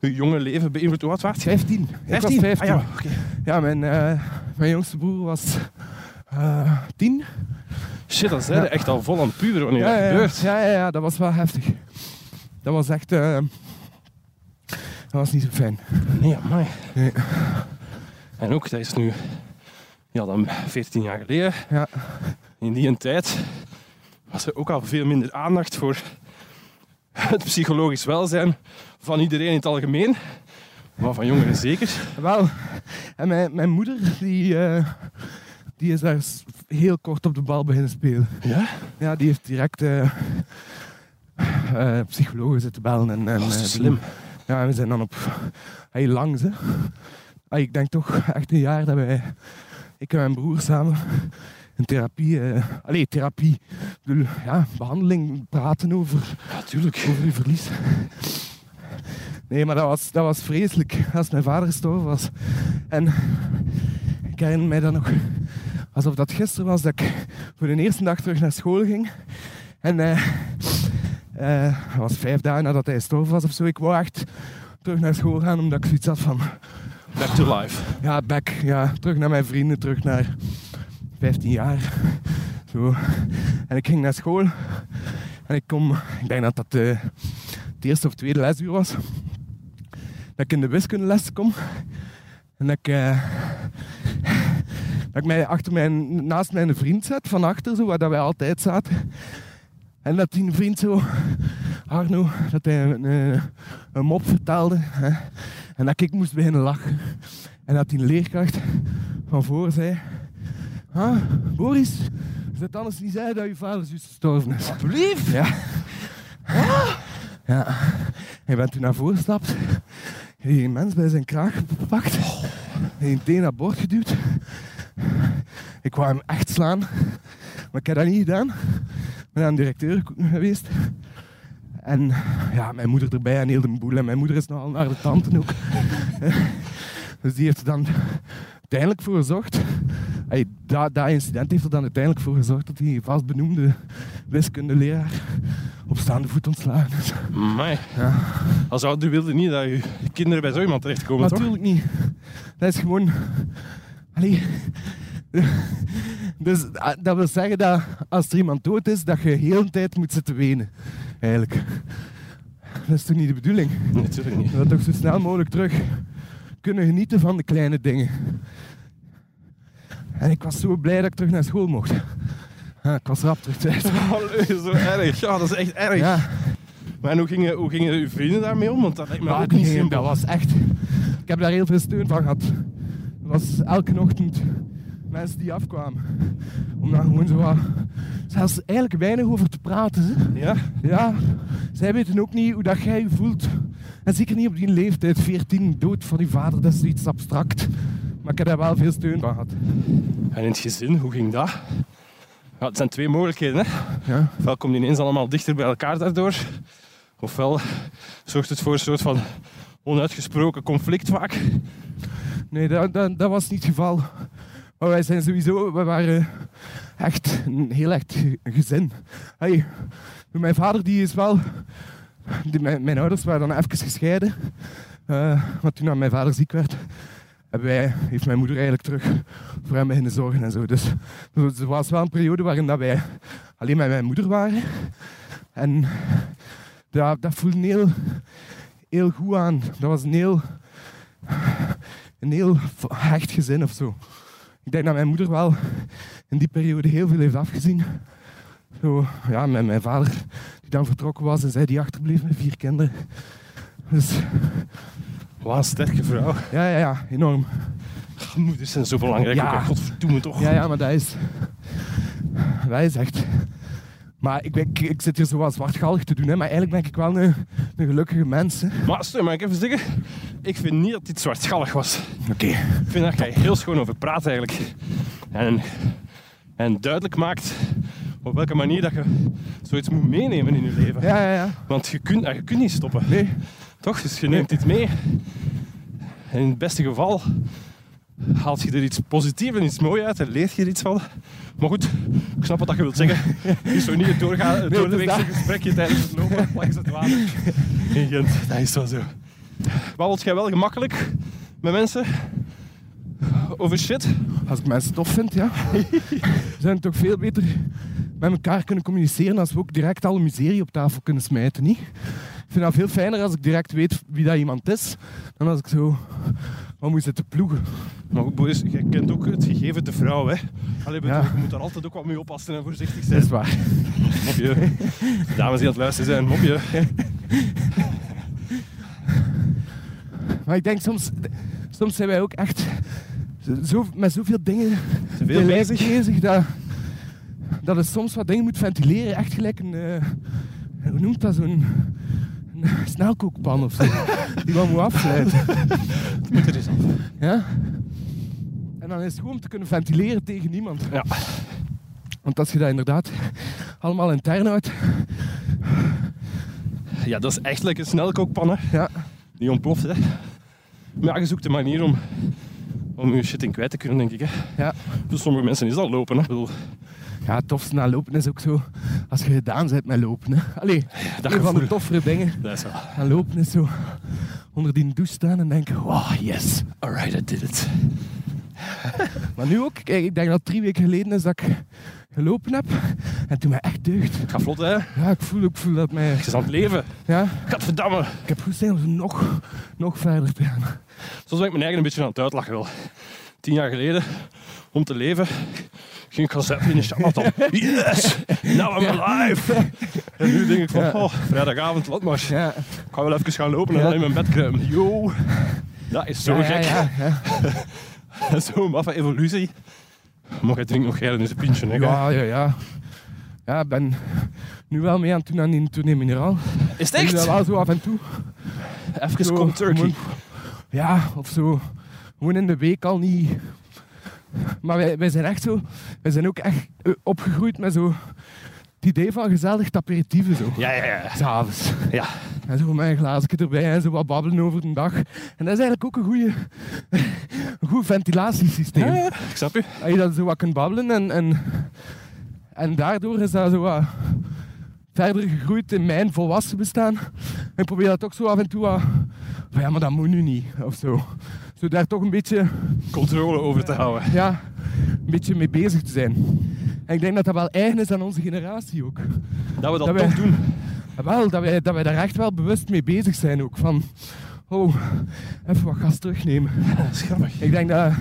Speaker 1: uw jonge leven beïnvloed? Hoe oud waart je?
Speaker 2: 15. Ik was 15.
Speaker 1: Ah, ja. oké.
Speaker 2: Ja, mijn, eh, mijn jongste broer was eh, 10.
Speaker 1: Shit, dan zijn
Speaker 2: Ja.
Speaker 1: ze echt al vol aan het puberen wanneer
Speaker 2: ja,
Speaker 1: dat
Speaker 2: ja,
Speaker 1: gebeurt.
Speaker 2: Ja, ja, ja, dat was wel heftig. Dat was echt... eh, dat was niet zo fijn.
Speaker 1: Nee, amai.
Speaker 2: Nee.
Speaker 1: En ook, dat is nu ja, dan 14 jaar geleden.
Speaker 2: Ja.
Speaker 1: In die tijd was er ook al veel minder aandacht voor het psychologisch welzijn van iedereen in het algemeen. Maar van jongeren zeker.
Speaker 2: Wel, en mijn, mijn moeder, die, eh, die is daar s- heel kort op de bal beginnen spelen.
Speaker 1: Ja?
Speaker 2: Ja, die heeft direct eh, eh, psychologen zitten bellen. En, en,
Speaker 1: Dat Oh, is
Speaker 2: eh,
Speaker 1: te slim.
Speaker 2: Ja, en we zijn dan op hey, langs. Hè. Hey, ik denk toch echt een jaar dat wij, ik en mijn broer samen, in therapie, eh allee, therapie, ik bedoel, ja, behandeling, praten over,
Speaker 1: Natuurlijk.
Speaker 2: over uw verlies. Nee, maar dat was, dat was vreselijk als mijn vader gestorven was. En ik herinner mij dan nog alsof dat gisteren was dat ik voor de eerste dag terug naar school ging. En eh, eh, dat was vijf dagen nadat hij gestorven was of zo. Ik wou echt terug naar school gaan omdat ik zoiets had van
Speaker 1: Back to life.
Speaker 2: ja, back. Ja, terug naar mijn vrienden, terug naar 15 jaar. Zo. En ik ging naar school. En ik kom, ik denk dat dat de, het eerste of tweede lesuur was. Dat ik in de wiskundeles kom. En dat ik, eh, dat ik mij achter mijn, naast mijn vriend zet, van achter, zo, waar dat wij altijd zaten. En dat die vriend zo, Arno, dat hij een, eh, een mop vertelde. Hè, en dat ik moest beginnen lachen. En dat die leerkracht van voor zei... Ah, Boris, is het anders niet zei dat je vader juist gestorven is? Alsjeblieft! Ja. Ja. Hij bent toen naar voren gestapt. Hij heeft een mens bij zijn kraag gepakt. Hij heeft een teen naar boord geduwd. Ik wou hem echt slaan. Maar ik heb dat niet gedaan. Ik ben naar een directeur geweest. En ja, mijn moeder erbij en heel de boel. En mijn moeder is nogal naar de tante ook. Dus die heeft er dan uiteindelijk voor gezorgd. Hey, dat, dat incident heeft er dan uiteindelijk voor gezorgd dat die vastbenoemde wiskundeleraar op staande voet ontslagen is.
Speaker 1: Amai.
Speaker 2: Ja.
Speaker 1: Als ouder wilde niet dat je kinderen bij zo iemand terechtkomen,
Speaker 2: Maar
Speaker 1: toch?
Speaker 2: Natuurlijk niet. Dat is gewoon. Allee. Dus ah, dat wil zeggen dat als er iemand dood is, dat je heel de tijd moet zitten wenen. Eigenlijk. Dat is toch niet de bedoeling?
Speaker 1: Natuurlijk niet.
Speaker 2: We willen toch zo snel mogelijk terug kunnen genieten van de kleine dingen. En ik was zo blij dat ik terug naar school mocht. Ja, ik was rap terug thuis.
Speaker 1: Allee, Oh, zo erg. Ja, dat is echt erg.
Speaker 2: Ja.
Speaker 1: Maar en hoe gingen, hoe gingen uw vrienden daarmee om? Want dat lijkt me
Speaker 2: Maar
Speaker 1: ook niet
Speaker 2: nee,
Speaker 1: simpel.
Speaker 2: Ah, dat was echt. Ik heb daar heel veel steun van gehad. Er was elke ochtend mensen die afkwamen. Om daar gewoon zo wat. Zelfs eigenlijk weinig over te praten. hè.
Speaker 1: Ja?
Speaker 2: Ja, zij weten ook niet hoe dat jij je voelt. En zeker niet op die leeftijd, 14, dood van je vader, dat is iets abstract. Maar ik heb daar wel veel steun van gehad.
Speaker 1: En in het gezin, hoe ging dat? Ja, het zijn twee mogelijkheden. Hè?
Speaker 2: Ja.
Speaker 1: Ofwel komt die ineens allemaal dichter bij elkaar daardoor. Ofwel zorgt het voor een soort van onuitgesproken conflict vaak.
Speaker 2: Nee, dat, dat, dat was niet het geval. Maar wij zijn sowieso, we waren echt een heel echt ge- gezin. Hey, mijn vader die is wel, die, mijn, mijn ouders waren dan even gescheiden. Eh want toen mijn vader ziek werd, hebben wij, heeft mijn moeder eigenlijk terug voor hem beginnen zorgen en zo. Dus er was wel een periode waarin dat wij alleen met mijn moeder waren. En dat, dat voelde heel, heel goed aan. Dat was een heel een heel v- hecht gezin of zo. Ik denk dat mijn moeder wel in die periode heel veel heeft afgezien. Zo, ja, met mijn vader die dan vertrokken was en zij die achterbleef met vier kinderen. Dus
Speaker 1: Wat een sterke vrouw.
Speaker 2: ja, ja, ja, enorm.
Speaker 1: Ach, Moeders zijn zo belangrijk.
Speaker 2: Ja.
Speaker 1: ook, hè. Godverdomme toch.
Speaker 2: Ja, ja, maar dat is... Dat is echt... Maar ik, ben, ik, ik zit hier zo wat zwartgallig te doen, hè, maar eigenlijk ben ik wel een, een gelukkige mens. hè.
Speaker 1: Maar stel, mag ik even zeggen? Ik vind niet dat dit zwartgallig was.
Speaker 2: Oké.
Speaker 1: Ik vind dat jij heel schoon over praat eigenlijk. En, en duidelijk maakt op welke manier dat je zoiets moet meenemen in je leven.
Speaker 2: Ja, ja, ja.
Speaker 1: Want je kunt, ah, je kunt niet stoppen.
Speaker 2: Nee.
Speaker 1: Toch? Dus je neemt dit mee. En in het beste geval haalt je er iets positiefs en iets moois uit en leert je er iets van. Maar goed, ik snap wat dat je wilt zeggen. Het is zo niet het doorgaan, het
Speaker 2: Nee, het is
Speaker 1: doordeweekse
Speaker 2: dat.
Speaker 1: gesprekje tijdens het lopen langs het water. In Gent, dat is wel zo. Babbelt jij wel gemakkelijk met mensen over shit?
Speaker 2: Als ik mensen tof vind, ja. We zijn toch veel beter met elkaar kunnen communiceren als we ook direct alle miserie op tafel kunnen smijten, niet? Ik vind dat veel fijner als ik direct weet wie dat iemand is, dan als ik zo wat moet zitten ploegen.
Speaker 1: Maar goed, Boris, jij kent ook het gegeven de vrouw, hè? Allee, bedoel,
Speaker 2: Ja.
Speaker 1: je moet daar altijd ook wat mee oppassen en voorzichtig
Speaker 2: Dat
Speaker 1: zijn.
Speaker 2: is waar.
Speaker 1: Mopje. Dames die aan het luisteren zijn, mopje.
Speaker 2: Maar ik denk soms, soms zijn wij ook echt zo, met zoveel dingen
Speaker 1: Te veel bezig.
Speaker 2: bezig dat, dat het soms wat dingen moet ventileren. Echt gelijk een, eh, hoe noemt dat, zo'n een snelkookpan of zo. Die wat moet afsluiten.
Speaker 1: Moet er eens af.
Speaker 2: Ja? En dan is het goed om te kunnen ventileren tegen niemand.
Speaker 1: Ja.
Speaker 2: Want als je dat inderdaad allemaal intern houdt,
Speaker 1: ja, dat is echt lekker een snelkookpan, hè.
Speaker 2: ja,
Speaker 1: Die ontploft, hè. Maar ja, je zoekt een manier om, om je shit in kwijt te kunnen, denk ik, hè.
Speaker 2: ja.
Speaker 1: Voor sommige mensen is dat lopen, hè. Ik bedoel,
Speaker 2: ja, het tofste na lopen is ook zo als je gedaan bent met lopen. Hè. Allee,
Speaker 1: dat
Speaker 2: een van de
Speaker 1: gevoel.
Speaker 2: toffere dingen
Speaker 1: dat is wel...
Speaker 2: aan lopen is zo onder die douche staan en denken, wow, yes.
Speaker 1: Alright, I did it.
Speaker 2: Maar nu ook, kijk, ik denk dat het drie weken geleden is dat ik gelopen heb en toen mij echt deugd.
Speaker 1: Het gaat vlot, hè. Het
Speaker 2: Ja, ik voel, ik voel dat mij...
Speaker 1: is aan het leven.
Speaker 2: Ja,
Speaker 1: Gadverdamme.
Speaker 2: ik heb goed zin om zo nog, nog verder te gaan.
Speaker 1: Soms ben ik mijn eigen een beetje aan het uitlachen wel. Tien jaar geleden, om te leven, ging ik gaan zetten in een charlatan. Yes! Now I'm alive! En nu denk ik van,
Speaker 2: Ja.
Speaker 1: oh, vrijdagavond, wat maar.
Speaker 2: Ja,
Speaker 1: Ik ga wel even gaan lopen en
Speaker 2: Ja.
Speaker 1: dan in mijn bed kruipen. Yo! Dat is zo
Speaker 2: Ja,
Speaker 1: gek.
Speaker 2: ja, ja, ja.
Speaker 1: Zo'n maffe evolutie. Maar jij drinkt nog geilen in zijn pintje, hè?
Speaker 2: Ja, ja, ja. Ja, ik ben nu wel mee aan het doen aan die tournee mineraal.
Speaker 1: Is het
Speaker 2: Ik doe dat wel zo af en toe.
Speaker 1: Even
Speaker 2: Zo,
Speaker 1: cold turkey.
Speaker 2: gewoon- Ja, of zo. Gewoon in de week al niet. Maar wij, wij zijn echt zo... Wij zijn ook echt eh, opgegroeid met zo... Het idee van gezellig te aperitieven zo.
Speaker 1: Ja, ja, ja.
Speaker 2: S'avonds.
Speaker 1: Ja,
Speaker 2: En zo met een glaasje erbij en zo wat babbelen over de dag. En dat is eigenlijk ook een, goeie, een goed ventilatiesysteem.
Speaker 1: Ja, ja, ik snap u.
Speaker 2: dat je dan zo wat kunt babbelen en, en, en daardoor is dat zo wat verder gegroeid in mijn volwassen bestaan. Ik probeer dat ook zo af en toe wat, van ja, maar dat moet nu niet, of zo. zo daar toch een beetje,
Speaker 1: Controle over te houden.
Speaker 2: ja, een beetje mee bezig te zijn. En ik denk dat dat wel eigen is aan onze generatie ook.
Speaker 1: Dat we dat,
Speaker 2: Dat wij-
Speaker 1: toch doen.
Speaker 2: Wel, dat wij, dat wij daar echt wel bewust mee bezig zijn ook. Van, oh, even wat gas terugnemen.
Speaker 1: Dat is grappig.
Speaker 2: Ik denk dat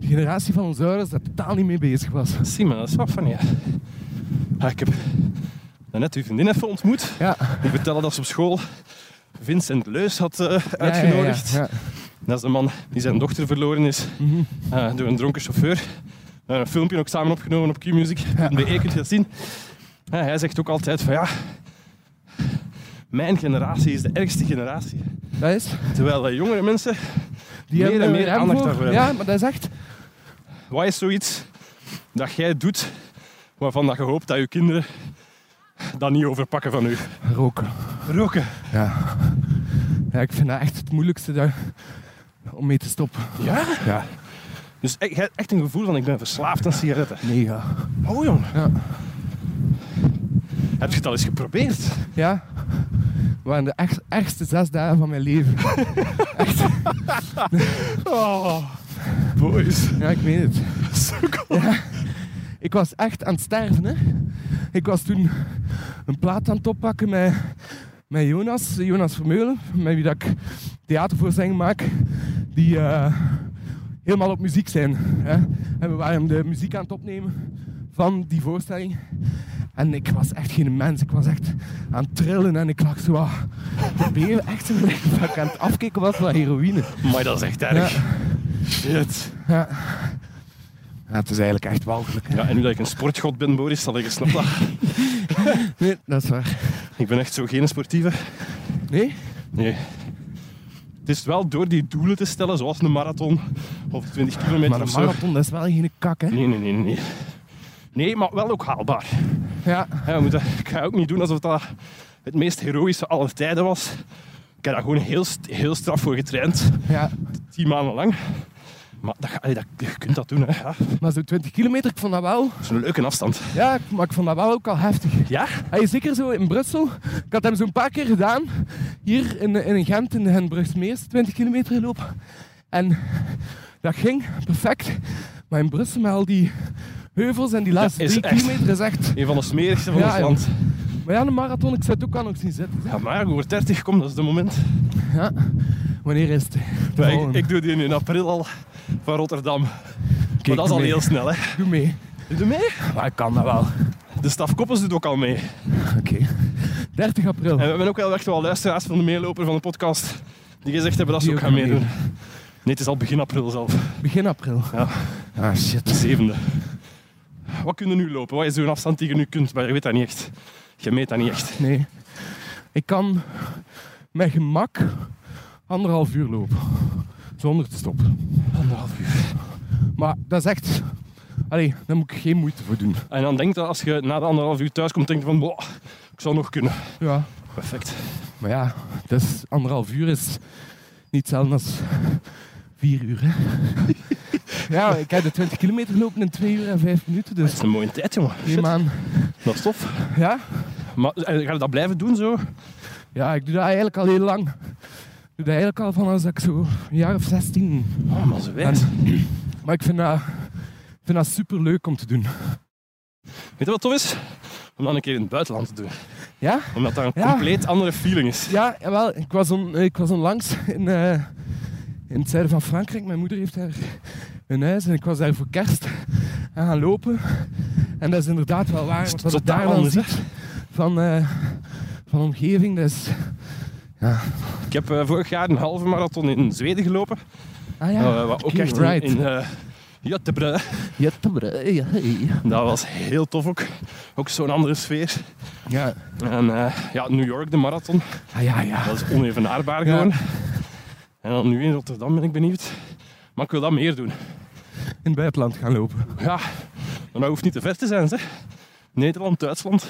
Speaker 2: de generatie van onze ouders daar totaal niet mee bezig was.
Speaker 1: Simon, dat is wat van je. Ah, ik heb net uw vriendin even ontmoet.
Speaker 2: Ja.
Speaker 1: Die vertelde dat ze op school Vincent Leus had eh, uitgenodigd.
Speaker 2: Ja, ja, ja.
Speaker 1: Dat is de man die zijn dochter verloren is
Speaker 2: Mhm.
Speaker 1: eh, door een dronken chauffeur. We hebben een filmpje ook samen opgenomen op Q-Music. Bij E kunt je dat zien. Ja, hij zegt ook altijd van ja, mijn generatie is de ergste generatie.
Speaker 2: Dat is.
Speaker 1: Terwijl eh, jongere mensen,
Speaker 2: Die
Speaker 1: Meer
Speaker 2: hebben
Speaker 1: en
Speaker 2: er
Speaker 1: meer
Speaker 2: ruim
Speaker 1: aandacht
Speaker 2: voor.
Speaker 1: daarvoor
Speaker 2: Ja,
Speaker 1: hebben.
Speaker 2: maar dat is echt.
Speaker 1: wat is zoiets dat jij doet waarvan dat je hoopt dat je kinderen dat niet overpakken van u?
Speaker 2: Roken.
Speaker 1: Roken.
Speaker 2: Ja. ja. Ik vind dat echt het moeilijkste daar, om mee te stoppen.
Speaker 1: Ja?
Speaker 2: Ja.
Speaker 1: Dus e- jij hebt echt een gevoel van ik ben verslaafd aan sigaretten.
Speaker 2: Mega.
Speaker 1: Oh jong.
Speaker 2: Ja.
Speaker 1: Heb je het al eens geprobeerd?
Speaker 2: Ja. Het waren de erg- ergste zes dagen van mijn leven.
Speaker 1: Oh, boys.
Speaker 2: Ja, ik meen het.
Speaker 1: Sukkel.
Speaker 2: Ik was echt aan het sterven, hè. Ik was toen een plaat aan het oppakken met, met Jonas, Jonas Vermeulen, met wie dat ik theatervoorstellingen maak, die eh, helemaal op muziek zijn. Hè. En we waren de muziek aan het opnemen van die voorstelling. En ik was echt geen mens, ik was echt aan het trillen en ik lag zo ah, de benen echt zo dat ik aan het afkicken was van heroïne.
Speaker 1: Maar dat is echt erg. Shit.
Speaker 2: Ja. Ja, het is eigenlijk echt walgelijk. hè.
Speaker 1: Ja, en nu dat ik een sportgod ben, Boris, zal ik eens snappen.
Speaker 2: Nee, dat is waar.
Speaker 1: ik ben echt zo geen sportieve.
Speaker 2: Nee?
Speaker 1: Nee. Het is wel door die doelen te stellen, zoals een marathon of 20 kilometer
Speaker 2: Maar
Speaker 1: of
Speaker 2: een
Speaker 1: zo.
Speaker 2: marathon, dat is wel geen kak, hè?
Speaker 1: Nee, nee, nee, nee. Nee, maar wel ook haalbaar.
Speaker 2: Ja,
Speaker 1: Hè, we moeten, ik ga ook niet doen alsof dat het meest heroïsche aller tijden was. Ik heb daar gewoon heel, st- heel straf voor getraind.
Speaker 2: ja.
Speaker 1: Tien maanden lang. Maar dat, ga- allee, dat, je kunt dat doen, hè. Ja, dat
Speaker 2: Maar zo'n 20 kilometer, ik vond dat wel...
Speaker 1: is een leuke afstand.
Speaker 2: Ja, ik- maar ik vond dat wel ook al heftig.
Speaker 1: Ja?
Speaker 2: Hij is zeker zo in Brussel. Ik had hem zo'n paar keer gedaan. Hier in, in Gent, in Henbrugtsmeers, 20 kilometer gelopen. En dat ging perfect. Maar in Brussel met al die heuvels en die laatste
Speaker 1: is
Speaker 2: drie
Speaker 1: echt-
Speaker 2: kilometer is echt...
Speaker 1: Een van de smerigste van
Speaker 2: Ja,
Speaker 1: ons land.
Speaker 2: Maar ja, een marathon, ik zou het ook aan nog zien zitten.
Speaker 1: Ja, maar over 30 kom, dat is de moment.
Speaker 2: Ja. Wanneer is het? De
Speaker 1: Ja, ik,
Speaker 2: volgende.
Speaker 1: ik doe die in april al van Rotterdam. maar dat is al
Speaker 2: mee.
Speaker 1: heel snel, hè?
Speaker 2: Doe mee.
Speaker 1: Doe mee?
Speaker 2: Maar ik kan dat wel. Oké.
Speaker 1: De staf Koppels doet ook al mee.
Speaker 2: Okay. 30 april.
Speaker 1: En we hebben ook wel echt wel luisteraars van de meeloper van de podcast die gezegd hebben dat ze
Speaker 2: Die
Speaker 1: ook
Speaker 2: ook
Speaker 1: gaan
Speaker 2: gaan
Speaker 1: meedoen. Nee, het is al begin april zelf.
Speaker 2: Begin april.
Speaker 1: Ja.
Speaker 2: Ah, shit.
Speaker 1: De zevende. Wat kun je nu lopen? Wat is zo'n afstand die je nu kunt? Maar je weet dat niet echt. Je meet dat niet echt.
Speaker 2: Nee. Ik kan met gemak anderhalf uur lopen. Zonder te stoppen.
Speaker 1: Anderhalf uur.
Speaker 2: Maar dat is echt... Allee, daar moet ik geen moeite voor doen.
Speaker 1: En dan denk je, als je na de anderhalf uur thuis komt, denk je van, "Boah, ik zou nog kunnen.
Speaker 2: Ja.
Speaker 1: Perfect.
Speaker 2: Maar ja, dat is, anderhalf uur is niet hetzelfde als vier uur, hè. ja, ik heb de 20 kilometer gelopen in twee uur en vijf minuten,
Speaker 1: Dat
Speaker 2: dus...
Speaker 1: is een mooie tijd, jongen.
Speaker 2: Neem aan.
Speaker 1: Dat is tof.
Speaker 2: Ja?
Speaker 1: Maar en ga je dat blijven doen zo?
Speaker 2: Ja, ik doe dat eigenlijk al heel lang. Ik doe dat eigenlijk al vanaf dat ik zo een jaar of 16
Speaker 1: Oh, maar ze
Speaker 2: En,
Speaker 1: weet.
Speaker 2: maar ik vind dat, ik vind dat super leuk om te doen.
Speaker 1: Weet je wat tof is? Om dat een keer in het buitenland te doen.
Speaker 2: Ja?
Speaker 1: Omdat dat een
Speaker 2: Ja.
Speaker 1: compleet andere feeling is.
Speaker 2: Ja, jawel. Ik was, on, ik was onlangs in, eh, in het zuiden van Frankrijk. Mijn moeder heeft daar een huis en ik was daar voor kerst aan gaan lopen. En dat is inderdaad wel waar.
Speaker 1: is
Speaker 2: Want wat ik
Speaker 1: totaal
Speaker 2: daar dan
Speaker 1: anders, hè?
Speaker 2: ziet van, eh, van omgeving, dat is...
Speaker 1: Ik heb eh, vorig jaar een halve marathon in Zweden gelopen.
Speaker 2: Ah ja,
Speaker 1: Eh, wat ook
Speaker 2: oké,
Speaker 1: echt in,
Speaker 2: right.
Speaker 1: in eh, Göteborg.
Speaker 2: Ja, tabre- ja, hey.
Speaker 1: Dat was heel tof ook. Ook zo'n andere sfeer.
Speaker 2: ja,
Speaker 1: En eh, ja, New York, de marathon.
Speaker 2: Ah, ja, ja.
Speaker 1: Dat is onevenaarbaar
Speaker 2: Ja.
Speaker 1: gewoon. En dan nu in Rotterdam ben ik benieuwd. Maar ik wil dat meer doen.
Speaker 2: In het buitenland gaan lopen.
Speaker 1: Ja, maar dat hoeft niet te ver te zijn, zeg. Nederland, Duitsland.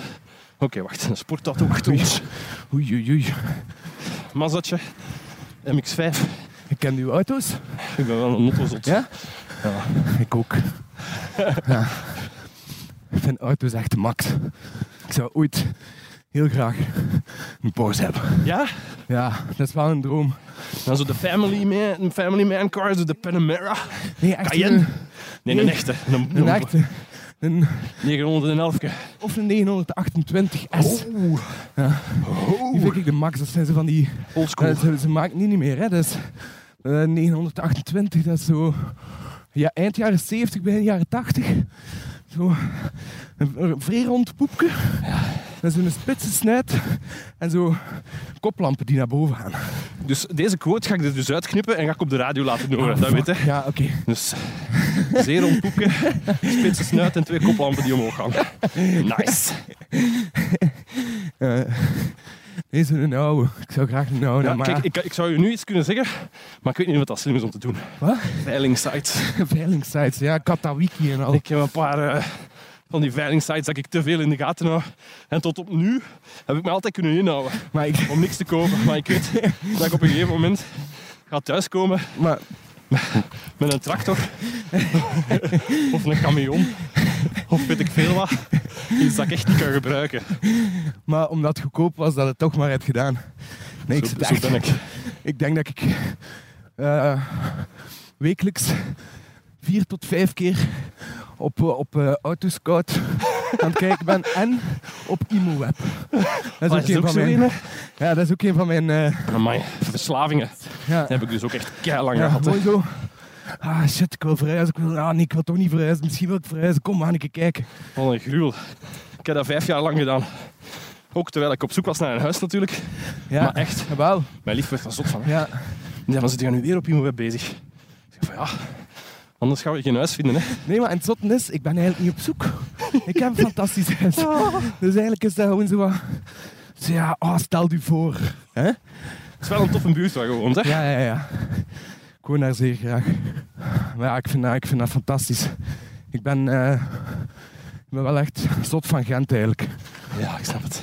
Speaker 1: Oké, wacht. Een sportauto achter ons.
Speaker 2: Oei, oei, oei.
Speaker 1: Mazatje. MX-5.
Speaker 2: Ik ken uw auto's.
Speaker 1: Ik ben wel een nottozot.
Speaker 2: Ja? Ik ook. ja. Ik vind auto's echt max. Ik zou ooit heel graag een Porsche hebben.
Speaker 1: Ja?
Speaker 2: Ja, dat is wel een droom.
Speaker 1: Dan zo de Family Man, family man Car, zo de Panamera.
Speaker 2: Nee, echt
Speaker 1: Cayenne?
Speaker 2: Een,
Speaker 1: Nee, een echte. Een,
Speaker 2: een echte. Een,
Speaker 1: 911.
Speaker 2: of een 928S.
Speaker 1: Oeh.
Speaker 2: Die vind ik de max. Dat zijn ze van die...
Speaker 1: Oldschool.
Speaker 2: eh, ze, ze maken die niet meer, hè. Dat is... eh, 928, dat is zo... Ja, eind jaren 70, begin jaren 80. Zo... Een een vrij rond poepje. Dat is een spitse snijd. En zo koplampen die naar boven gaan.
Speaker 1: Dus deze quote ga ik er dus uitknippen en ga ik op de radio laten horen. Oh,
Speaker 2: Ah,
Speaker 1: dat weet je.
Speaker 2: Ja, oké.
Speaker 1: Dus zeer ontpoeken, spitse snuit en twee koplampen die omhoog gaan. Nice.
Speaker 2: Eh, deze een oude. Ik zou graag een oude,
Speaker 1: Ja,
Speaker 2: maar...
Speaker 1: kijk, ik, ik zou je nu iets kunnen zeggen, maar ik weet niet of dat slim is om te doen.
Speaker 2: Wat?
Speaker 1: Veilingsites.
Speaker 2: Veilingsites, ja, Katawiki en al.
Speaker 1: Ik heb een paar eh, van die veilingsites dat ik te veel in de gaten hou. En tot op nu heb ik me altijd kunnen inhouden
Speaker 2: maar, ik,
Speaker 1: om niks te kopen. Maar ik weet dat ik op een gegeven moment ga thuiskomen
Speaker 2: maar
Speaker 1: met een tractor of een camion of weet ik veel wat. Iets dat ik echt niet kan gebruiken.
Speaker 2: Maar omdat het goedkoop was, dat het toch maar heeft gedaan. Nee, ik,
Speaker 1: zo,
Speaker 2: zit
Speaker 1: zo
Speaker 2: echt-
Speaker 1: ben ik.
Speaker 2: ik denk dat ik eh, wekelijks vier tot vijf keer op, eh, op eh, Autoscout aan het kijken ben en op ImoWeb. Dat
Speaker 1: Ah, is dat ook zo een,
Speaker 2: ja, dat is ook een van mijn... eh,
Speaker 1: Amai, verslavingen.
Speaker 2: ja,
Speaker 1: Dat heb ik dus ook echt keilang
Speaker 2: ja,
Speaker 1: gehad. hè.
Speaker 2: gewoon zo. Ah shit, ik wil verhuizen. Ik wil, ah nee, ik wil toch niet verhuizen. Misschien wil ik verhuizen. Kom, we gaan een keer kijken.
Speaker 1: Wat een gruwel. Ik heb dat vijf jaar lang gedaan. Ook terwijl ik op zoek was naar een huis natuurlijk.
Speaker 2: Ja,
Speaker 1: Maar echt,
Speaker 2: wel.
Speaker 1: mijn lief werd er zot van. hè.
Speaker 2: Ja.
Speaker 1: Ja, dan zit je nu weer op iemand bezig. Ik zeg van ja, anders gaan we geen huis vinden. Hè.
Speaker 2: Nee, maar en het zotte is, ik ben eigenlijk niet op zoek. Ik heb een fantastisch huis.
Speaker 1: Oh.
Speaker 2: Dus eigenlijk is dat gewoon zo wat... Zo ja, oh, stel u voor. Hè?
Speaker 1: Het is wel een toffe buurt waar je woont. Hè.
Speaker 2: Ja, ja, ja. Ik woon daar zeer graag. Maar ja, ik vind dat, ik vind dat fantastisch. Ik ben, eh, ik ben wel echt zot van Gent eigenlijk.
Speaker 1: Ja, ik snap het.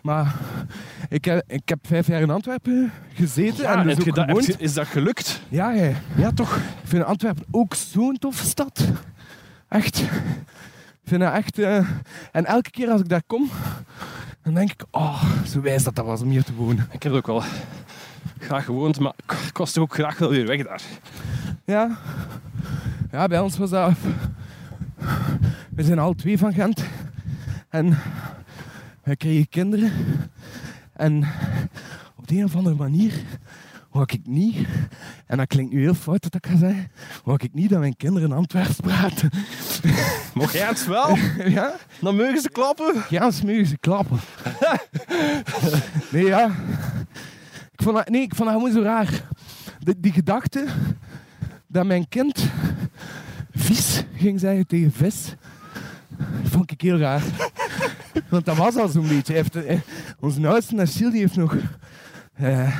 Speaker 2: Maar ik heb, ik heb vijf jaar in Antwerpen gezeten
Speaker 1: Ja,
Speaker 2: en dus
Speaker 1: heb je
Speaker 2: ook
Speaker 1: dat- heb
Speaker 2: gewoond.
Speaker 1: je- is dat gelukt?
Speaker 2: Ja, ja,
Speaker 1: Ja, toch?
Speaker 2: Ik vind Antwerpen ook zo'n toffe stad. Echt. Ik vind dat echt... eh, en elke keer als ik daar kom, dan denk ik... Oh, zo wijs dat dat was om hier te wonen.
Speaker 1: Ik heb er ook wel graag gewoond, maar ik ik was toch ook graag wel weer weg daar.
Speaker 2: Ja. Ja, bij ons was dat... We zijn al twee van Gent. En we kregen kinderen. En op de een of andere manier wou ik niet... En dat klinkt nu heel fout wat ik ga zeggen. Wou ik niet dat mijn kinderen Antwerps praten.
Speaker 1: Mocht jij het wel?
Speaker 2: ja?
Speaker 1: Dan mogen ze klappen.
Speaker 2: Ja, smeuïge ze klappen. nee, ja. Ik vond dat, nee, ik vond dat gewoon zo raar. De- die gedachte dat mijn kind vies ging zeggen tegen vis, vond ik heel raar. Want dat was al zo'n beetje. Hij Heeft, eh, onze oudste Achille die heeft nog... eh,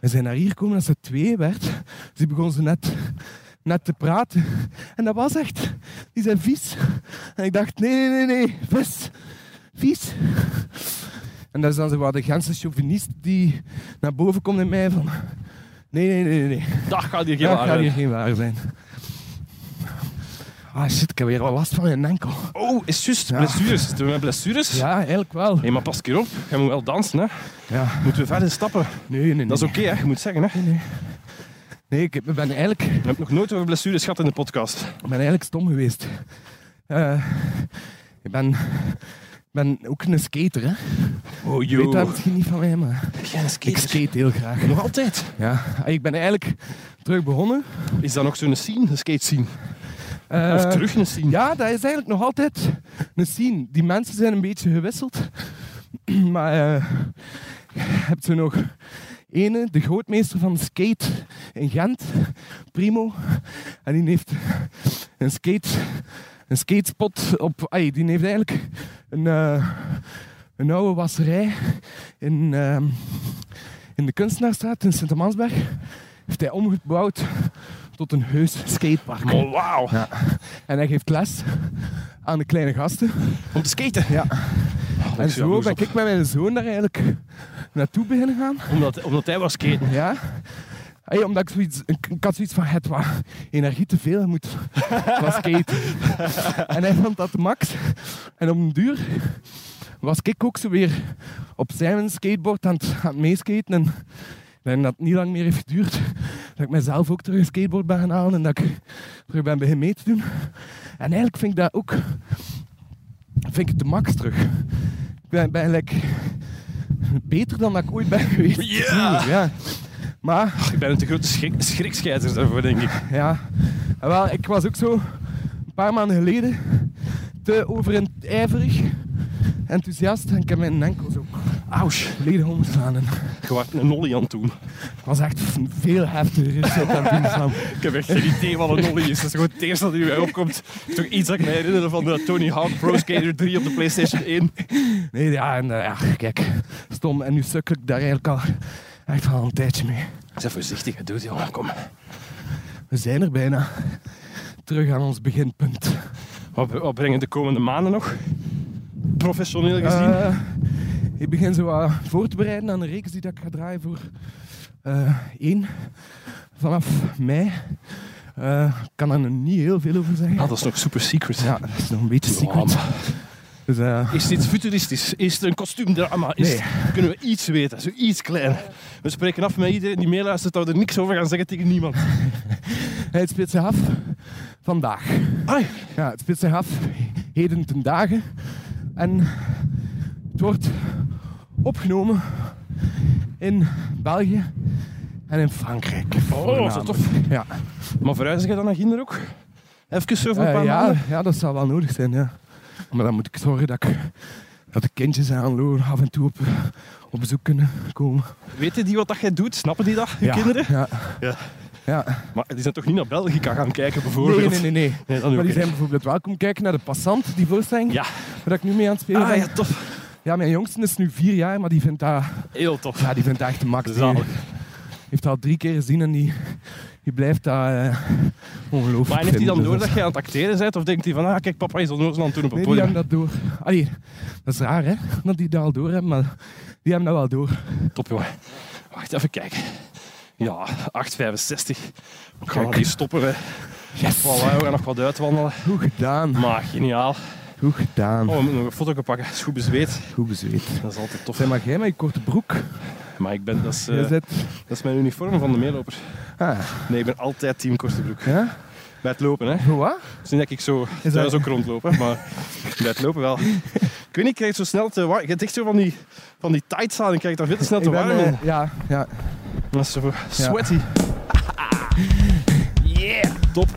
Speaker 2: we zijn naar hier gekomen als ze twee werd. Dus die begon ze net, net te praten. En dat was echt... Die zijn vies. En ik dacht, nee, nee, nee, nee, vis. Vies. En dat is dan zo wat de Gentse chauvinist die naar boven komt in mij van... Nee, nee, nee, nee, nee.
Speaker 1: Dat gaat hier geen
Speaker 2: Dat
Speaker 1: waar
Speaker 2: gaat hier
Speaker 1: zijn.
Speaker 2: geen waar zijn. Ah shit, ik heb weer al last van mijn enkel.
Speaker 1: Oh, is juist.
Speaker 2: Ja.
Speaker 1: Blessures. Doen we met blessures?
Speaker 2: Ja, eigenlijk wel.
Speaker 1: Hé, maar pas een keer op. Jij moet wel dansen, hè.
Speaker 2: Ja.
Speaker 1: Moeten we verder stappen.
Speaker 2: Nee, nee, nee.
Speaker 1: Dat is oké, hè. Je moet zeggen, hè.
Speaker 2: Nee, ik ben eigenlijk,
Speaker 1: We hebben nog nooit over blessures gehad in de podcast.
Speaker 2: ik ben eigenlijk stom geweest. Eh, ik ben, ik ben ook een skater, hè.
Speaker 1: Oh,
Speaker 2: Je weet dat
Speaker 1: joh.
Speaker 2: misschien niet van mij, maar
Speaker 1: Geen
Speaker 2: ik skate heel graag.
Speaker 1: Nog altijd.
Speaker 2: Ja, Ah, ik ben eigenlijk terug begonnen.
Speaker 1: Is dat nog zo'n scene, een skate scene?
Speaker 2: Eh,
Speaker 1: of terug een scene?
Speaker 2: Ja, dat is eigenlijk nog altijd een scene. Die mensen zijn een beetje gewisseld. maar eh, hebt ze nog ene, de grootmeester van skate in Gent, Primo. En die heeft een skate een skatespot op... Ay, die heeft eigenlijk een, eh, een oude wasserij in, ehm, in de Kunstenaarstraat in Sint-Amansberg. Heeft hij omgebouwd tot een heus skatepark.
Speaker 1: Oh, wauw.
Speaker 2: Ja. En hij geeft les aan de kleine gasten.
Speaker 1: Om te skaten.
Speaker 2: Ja.
Speaker 1: Oh,
Speaker 2: En
Speaker 1: ik zie dat
Speaker 2: zo
Speaker 1: bloes
Speaker 2: ben
Speaker 1: op.
Speaker 2: ik met mijn zoon daar eigenlijk naartoe beginnen gaan.
Speaker 1: Omdat, omdat hij was skaten.
Speaker 2: Ja. Hey, omdat ik zoiets, ik, ik had zoiets van, het was energie te veel, je moet wat skaten. en hij vond dat de max. En op een duur was ik ook zo weer op zijn skateboard aan het, aan het meeskaten. En ik denk dat het niet lang meer heeft geduurd dat ik mezelf ook terug een skateboard ben gaan halen en dat ik terug ben beginnen mee te doen. En eigenlijk vind ik dat ook vind ik het de max terug. Ik ben, ben gelijk beter dan dat ik ooit ben geweest.
Speaker 1: Ja.
Speaker 2: ja. Maar
Speaker 1: Ik ben een te grote schrik, schrikscheider daarvoor, denk ik.
Speaker 2: ja, En wel, ik was ook zo een paar maanden geleden te overijverig, enthousiast en ik heb mijn enkel zo
Speaker 1: Ausch.
Speaker 2: volledig omgeslaan. En
Speaker 1: Je was een ollie aan het doen.
Speaker 2: Ik was echt veel heftiger shit aan het doen, Sam.
Speaker 1: Ik heb echt geen idee wat een ollie is. Dat is gewoon het eerste dat u bij opkomt. Dat is toch iets dat ik me herinner van de Tony Hawk Pro Skater 3 op de PlayStation 1.
Speaker 2: Nee, ja, en eh, ja, kijk, stom. En nu sukkel ik daar eigenlijk al echt al een tijdje mee.
Speaker 1: Zeg voorzichtig, het doet jongen, kom.
Speaker 2: We zijn er bijna. Terug aan ons beginpunt.
Speaker 1: Wat, wat brengen de komende maanden nog? Professioneel gezien.
Speaker 2: Eh, ik begin zo wat voor te bereiden aan de reeks die dat ik ga draaien voor eh één. Vanaf mei. Eh, Ik kan er nog niet heel veel over zeggen.
Speaker 1: Ah, dat is nog super secret.
Speaker 2: Ja, dat is nog een beetje
Speaker 1: Ja,
Speaker 2: secret.
Speaker 1: maar
Speaker 2: Dus, eh,
Speaker 1: is dit futuristisch? Is het een kostuumdrama? Is
Speaker 2: Nee.
Speaker 1: Kunnen we iets weten? Zo iets klein. We spreken af met iedereen die meeluistert dat we er niks over gaan zeggen tegen niemand.
Speaker 2: het speelt zich af vandaag.
Speaker 1: Ai,
Speaker 2: Ja, het speelt zich af heden ten dagen. En het wordt opgenomen in België en in Frankrijk.
Speaker 1: oh, zo
Speaker 2: voornamelijk.
Speaker 1: tof.
Speaker 2: Ja,
Speaker 1: Maar verhuizen jij dan naar Ginder ook? Even zo voor een paar
Speaker 2: Eh, ja,
Speaker 1: maanden?
Speaker 2: ja, dat zal wel nodig zijn. Ja. Maar dan moet ik zorgen dat, ik, dat de kindjes aan Loor af en toe op, op bezoek kunnen komen.
Speaker 1: Weten die wat dat jij doet? Snappen die dat, je
Speaker 2: ja,
Speaker 1: kinderen?
Speaker 2: Ja.
Speaker 1: Ja.
Speaker 2: ja.
Speaker 1: Maar die zijn toch niet naar Belgica gaan kijken, bijvoorbeeld?
Speaker 2: Nee, nee, nee. nee.
Speaker 1: Nee, dan
Speaker 2: Maar die
Speaker 1: ook
Speaker 2: zijn
Speaker 1: niet.
Speaker 2: bijvoorbeeld welkom kijken naar de Passant, die voorstelling
Speaker 1: Ja.
Speaker 2: waar ik nu mee aan het spelen
Speaker 1: Ah,
Speaker 2: ben.
Speaker 1: ja, tof.
Speaker 2: Ja, mijn jongste is nu vier jaar, maar die vindt dat,
Speaker 1: Heel tof.
Speaker 2: ja, die vindt dat echt de max. Die
Speaker 1: Zalig.
Speaker 2: heeft dat al drie keer gezien en die, die blijft dat eh,
Speaker 1: Maar
Speaker 2: ongelooflijk
Speaker 1: heeft hij
Speaker 2: vinden.
Speaker 1: dan
Speaker 2: Dus
Speaker 1: door
Speaker 2: dat-
Speaker 1: dat jij aan het acteren bent? Of denkt hij van, ah, kijk, papa is onnozel aan het doen op het
Speaker 2: Nee, die
Speaker 1: podium?
Speaker 2: hebben dat door. Allee, dat is raar hè, dat die dat al door hebben, maar die hebben dat wel door.
Speaker 1: Top, jongen. Wacht, even kijken. Ja, 8,65. Ik ga
Speaker 2: Kijk.
Speaker 1: nog niet stoppen, hè.
Speaker 2: Yes!
Speaker 1: Voilà, we gaan nog wat uitwandelen.
Speaker 2: Goed gedaan,
Speaker 1: Maar geniaal.
Speaker 2: goed gedaan.
Speaker 1: Oh, we moeten nog een foto pakken. Het is goed bezweet.
Speaker 2: Goed bezweet.
Speaker 1: Dat is altijd tof.
Speaker 2: Zeg maar jij met je korte broek.
Speaker 1: Maar ik ben, dat, is, eh,
Speaker 2: Jij zit...
Speaker 1: dat is mijn uniform van de meeloper.
Speaker 2: Ah,
Speaker 1: Nee, ik ben altijd team korte broek.
Speaker 2: ja?
Speaker 1: Bij het lopen, hè.
Speaker 2: Voor wat?
Speaker 1: Het is niet dat ik zo
Speaker 2: dat-
Speaker 1: thuis ook rondlopen, maar bij het lopen wel. Ik weet niet, ik krijg zo snel te warm. Je hebt echt zo van die, van die tights aan en krijg daar veel te snel te
Speaker 2: Ik ben,
Speaker 1: warm in.
Speaker 2: eh, ja, ja.
Speaker 1: Dat is zo sweaty. Yeah! Top.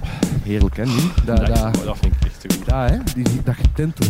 Speaker 2: Heerlijk hè, niet? Dat,
Speaker 1: Dat,
Speaker 2: dat,
Speaker 1: oh, dat vind ik echt te goed.
Speaker 2: dat, hè, die, die- dat getintel.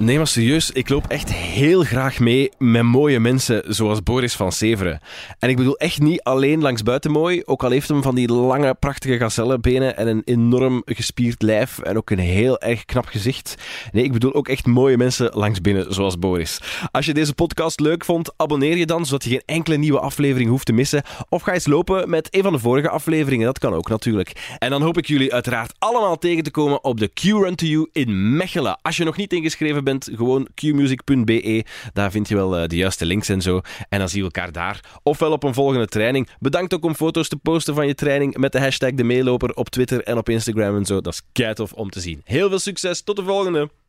Speaker 4: Nee, maar serieus, ik loop echt heel graag mee met mooie mensen zoals Boris van Severen. En ik bedoel echt niet alleen langs buiten mooi, ook al heeft hem van die lange, prachtige gazellenbenen en een enorm gespierd lijf en ook een heel erg knap gezicht. Nee, ik bedoel ook echt mooie mensen langs binnen zoals Boris. Als je deze podcast leuk vond, abonneer je dan zodat je geen enkele nieuwe aflevering hoeft te missen. Of ga eens lopen met een van de vorige afleveringen, dat kan ook natuurlijk. En dan hoop ik jullie uiteraard allemaal tegen te komen op de Q-Run to You in Mechelen. Als je nog niet ingeschreven bent, gewoon qmusic.be. Daar vind je wel eh, de juiste links en zo. En dan zien we elkaar daar. Ofwel op een volgende training. Bedankt ook om foto's te posten van je training met de hashtag de meeloper op Twitter en op Instagram en zo. Dat is keitof om te zien. Heel veel succes, tot de volgende!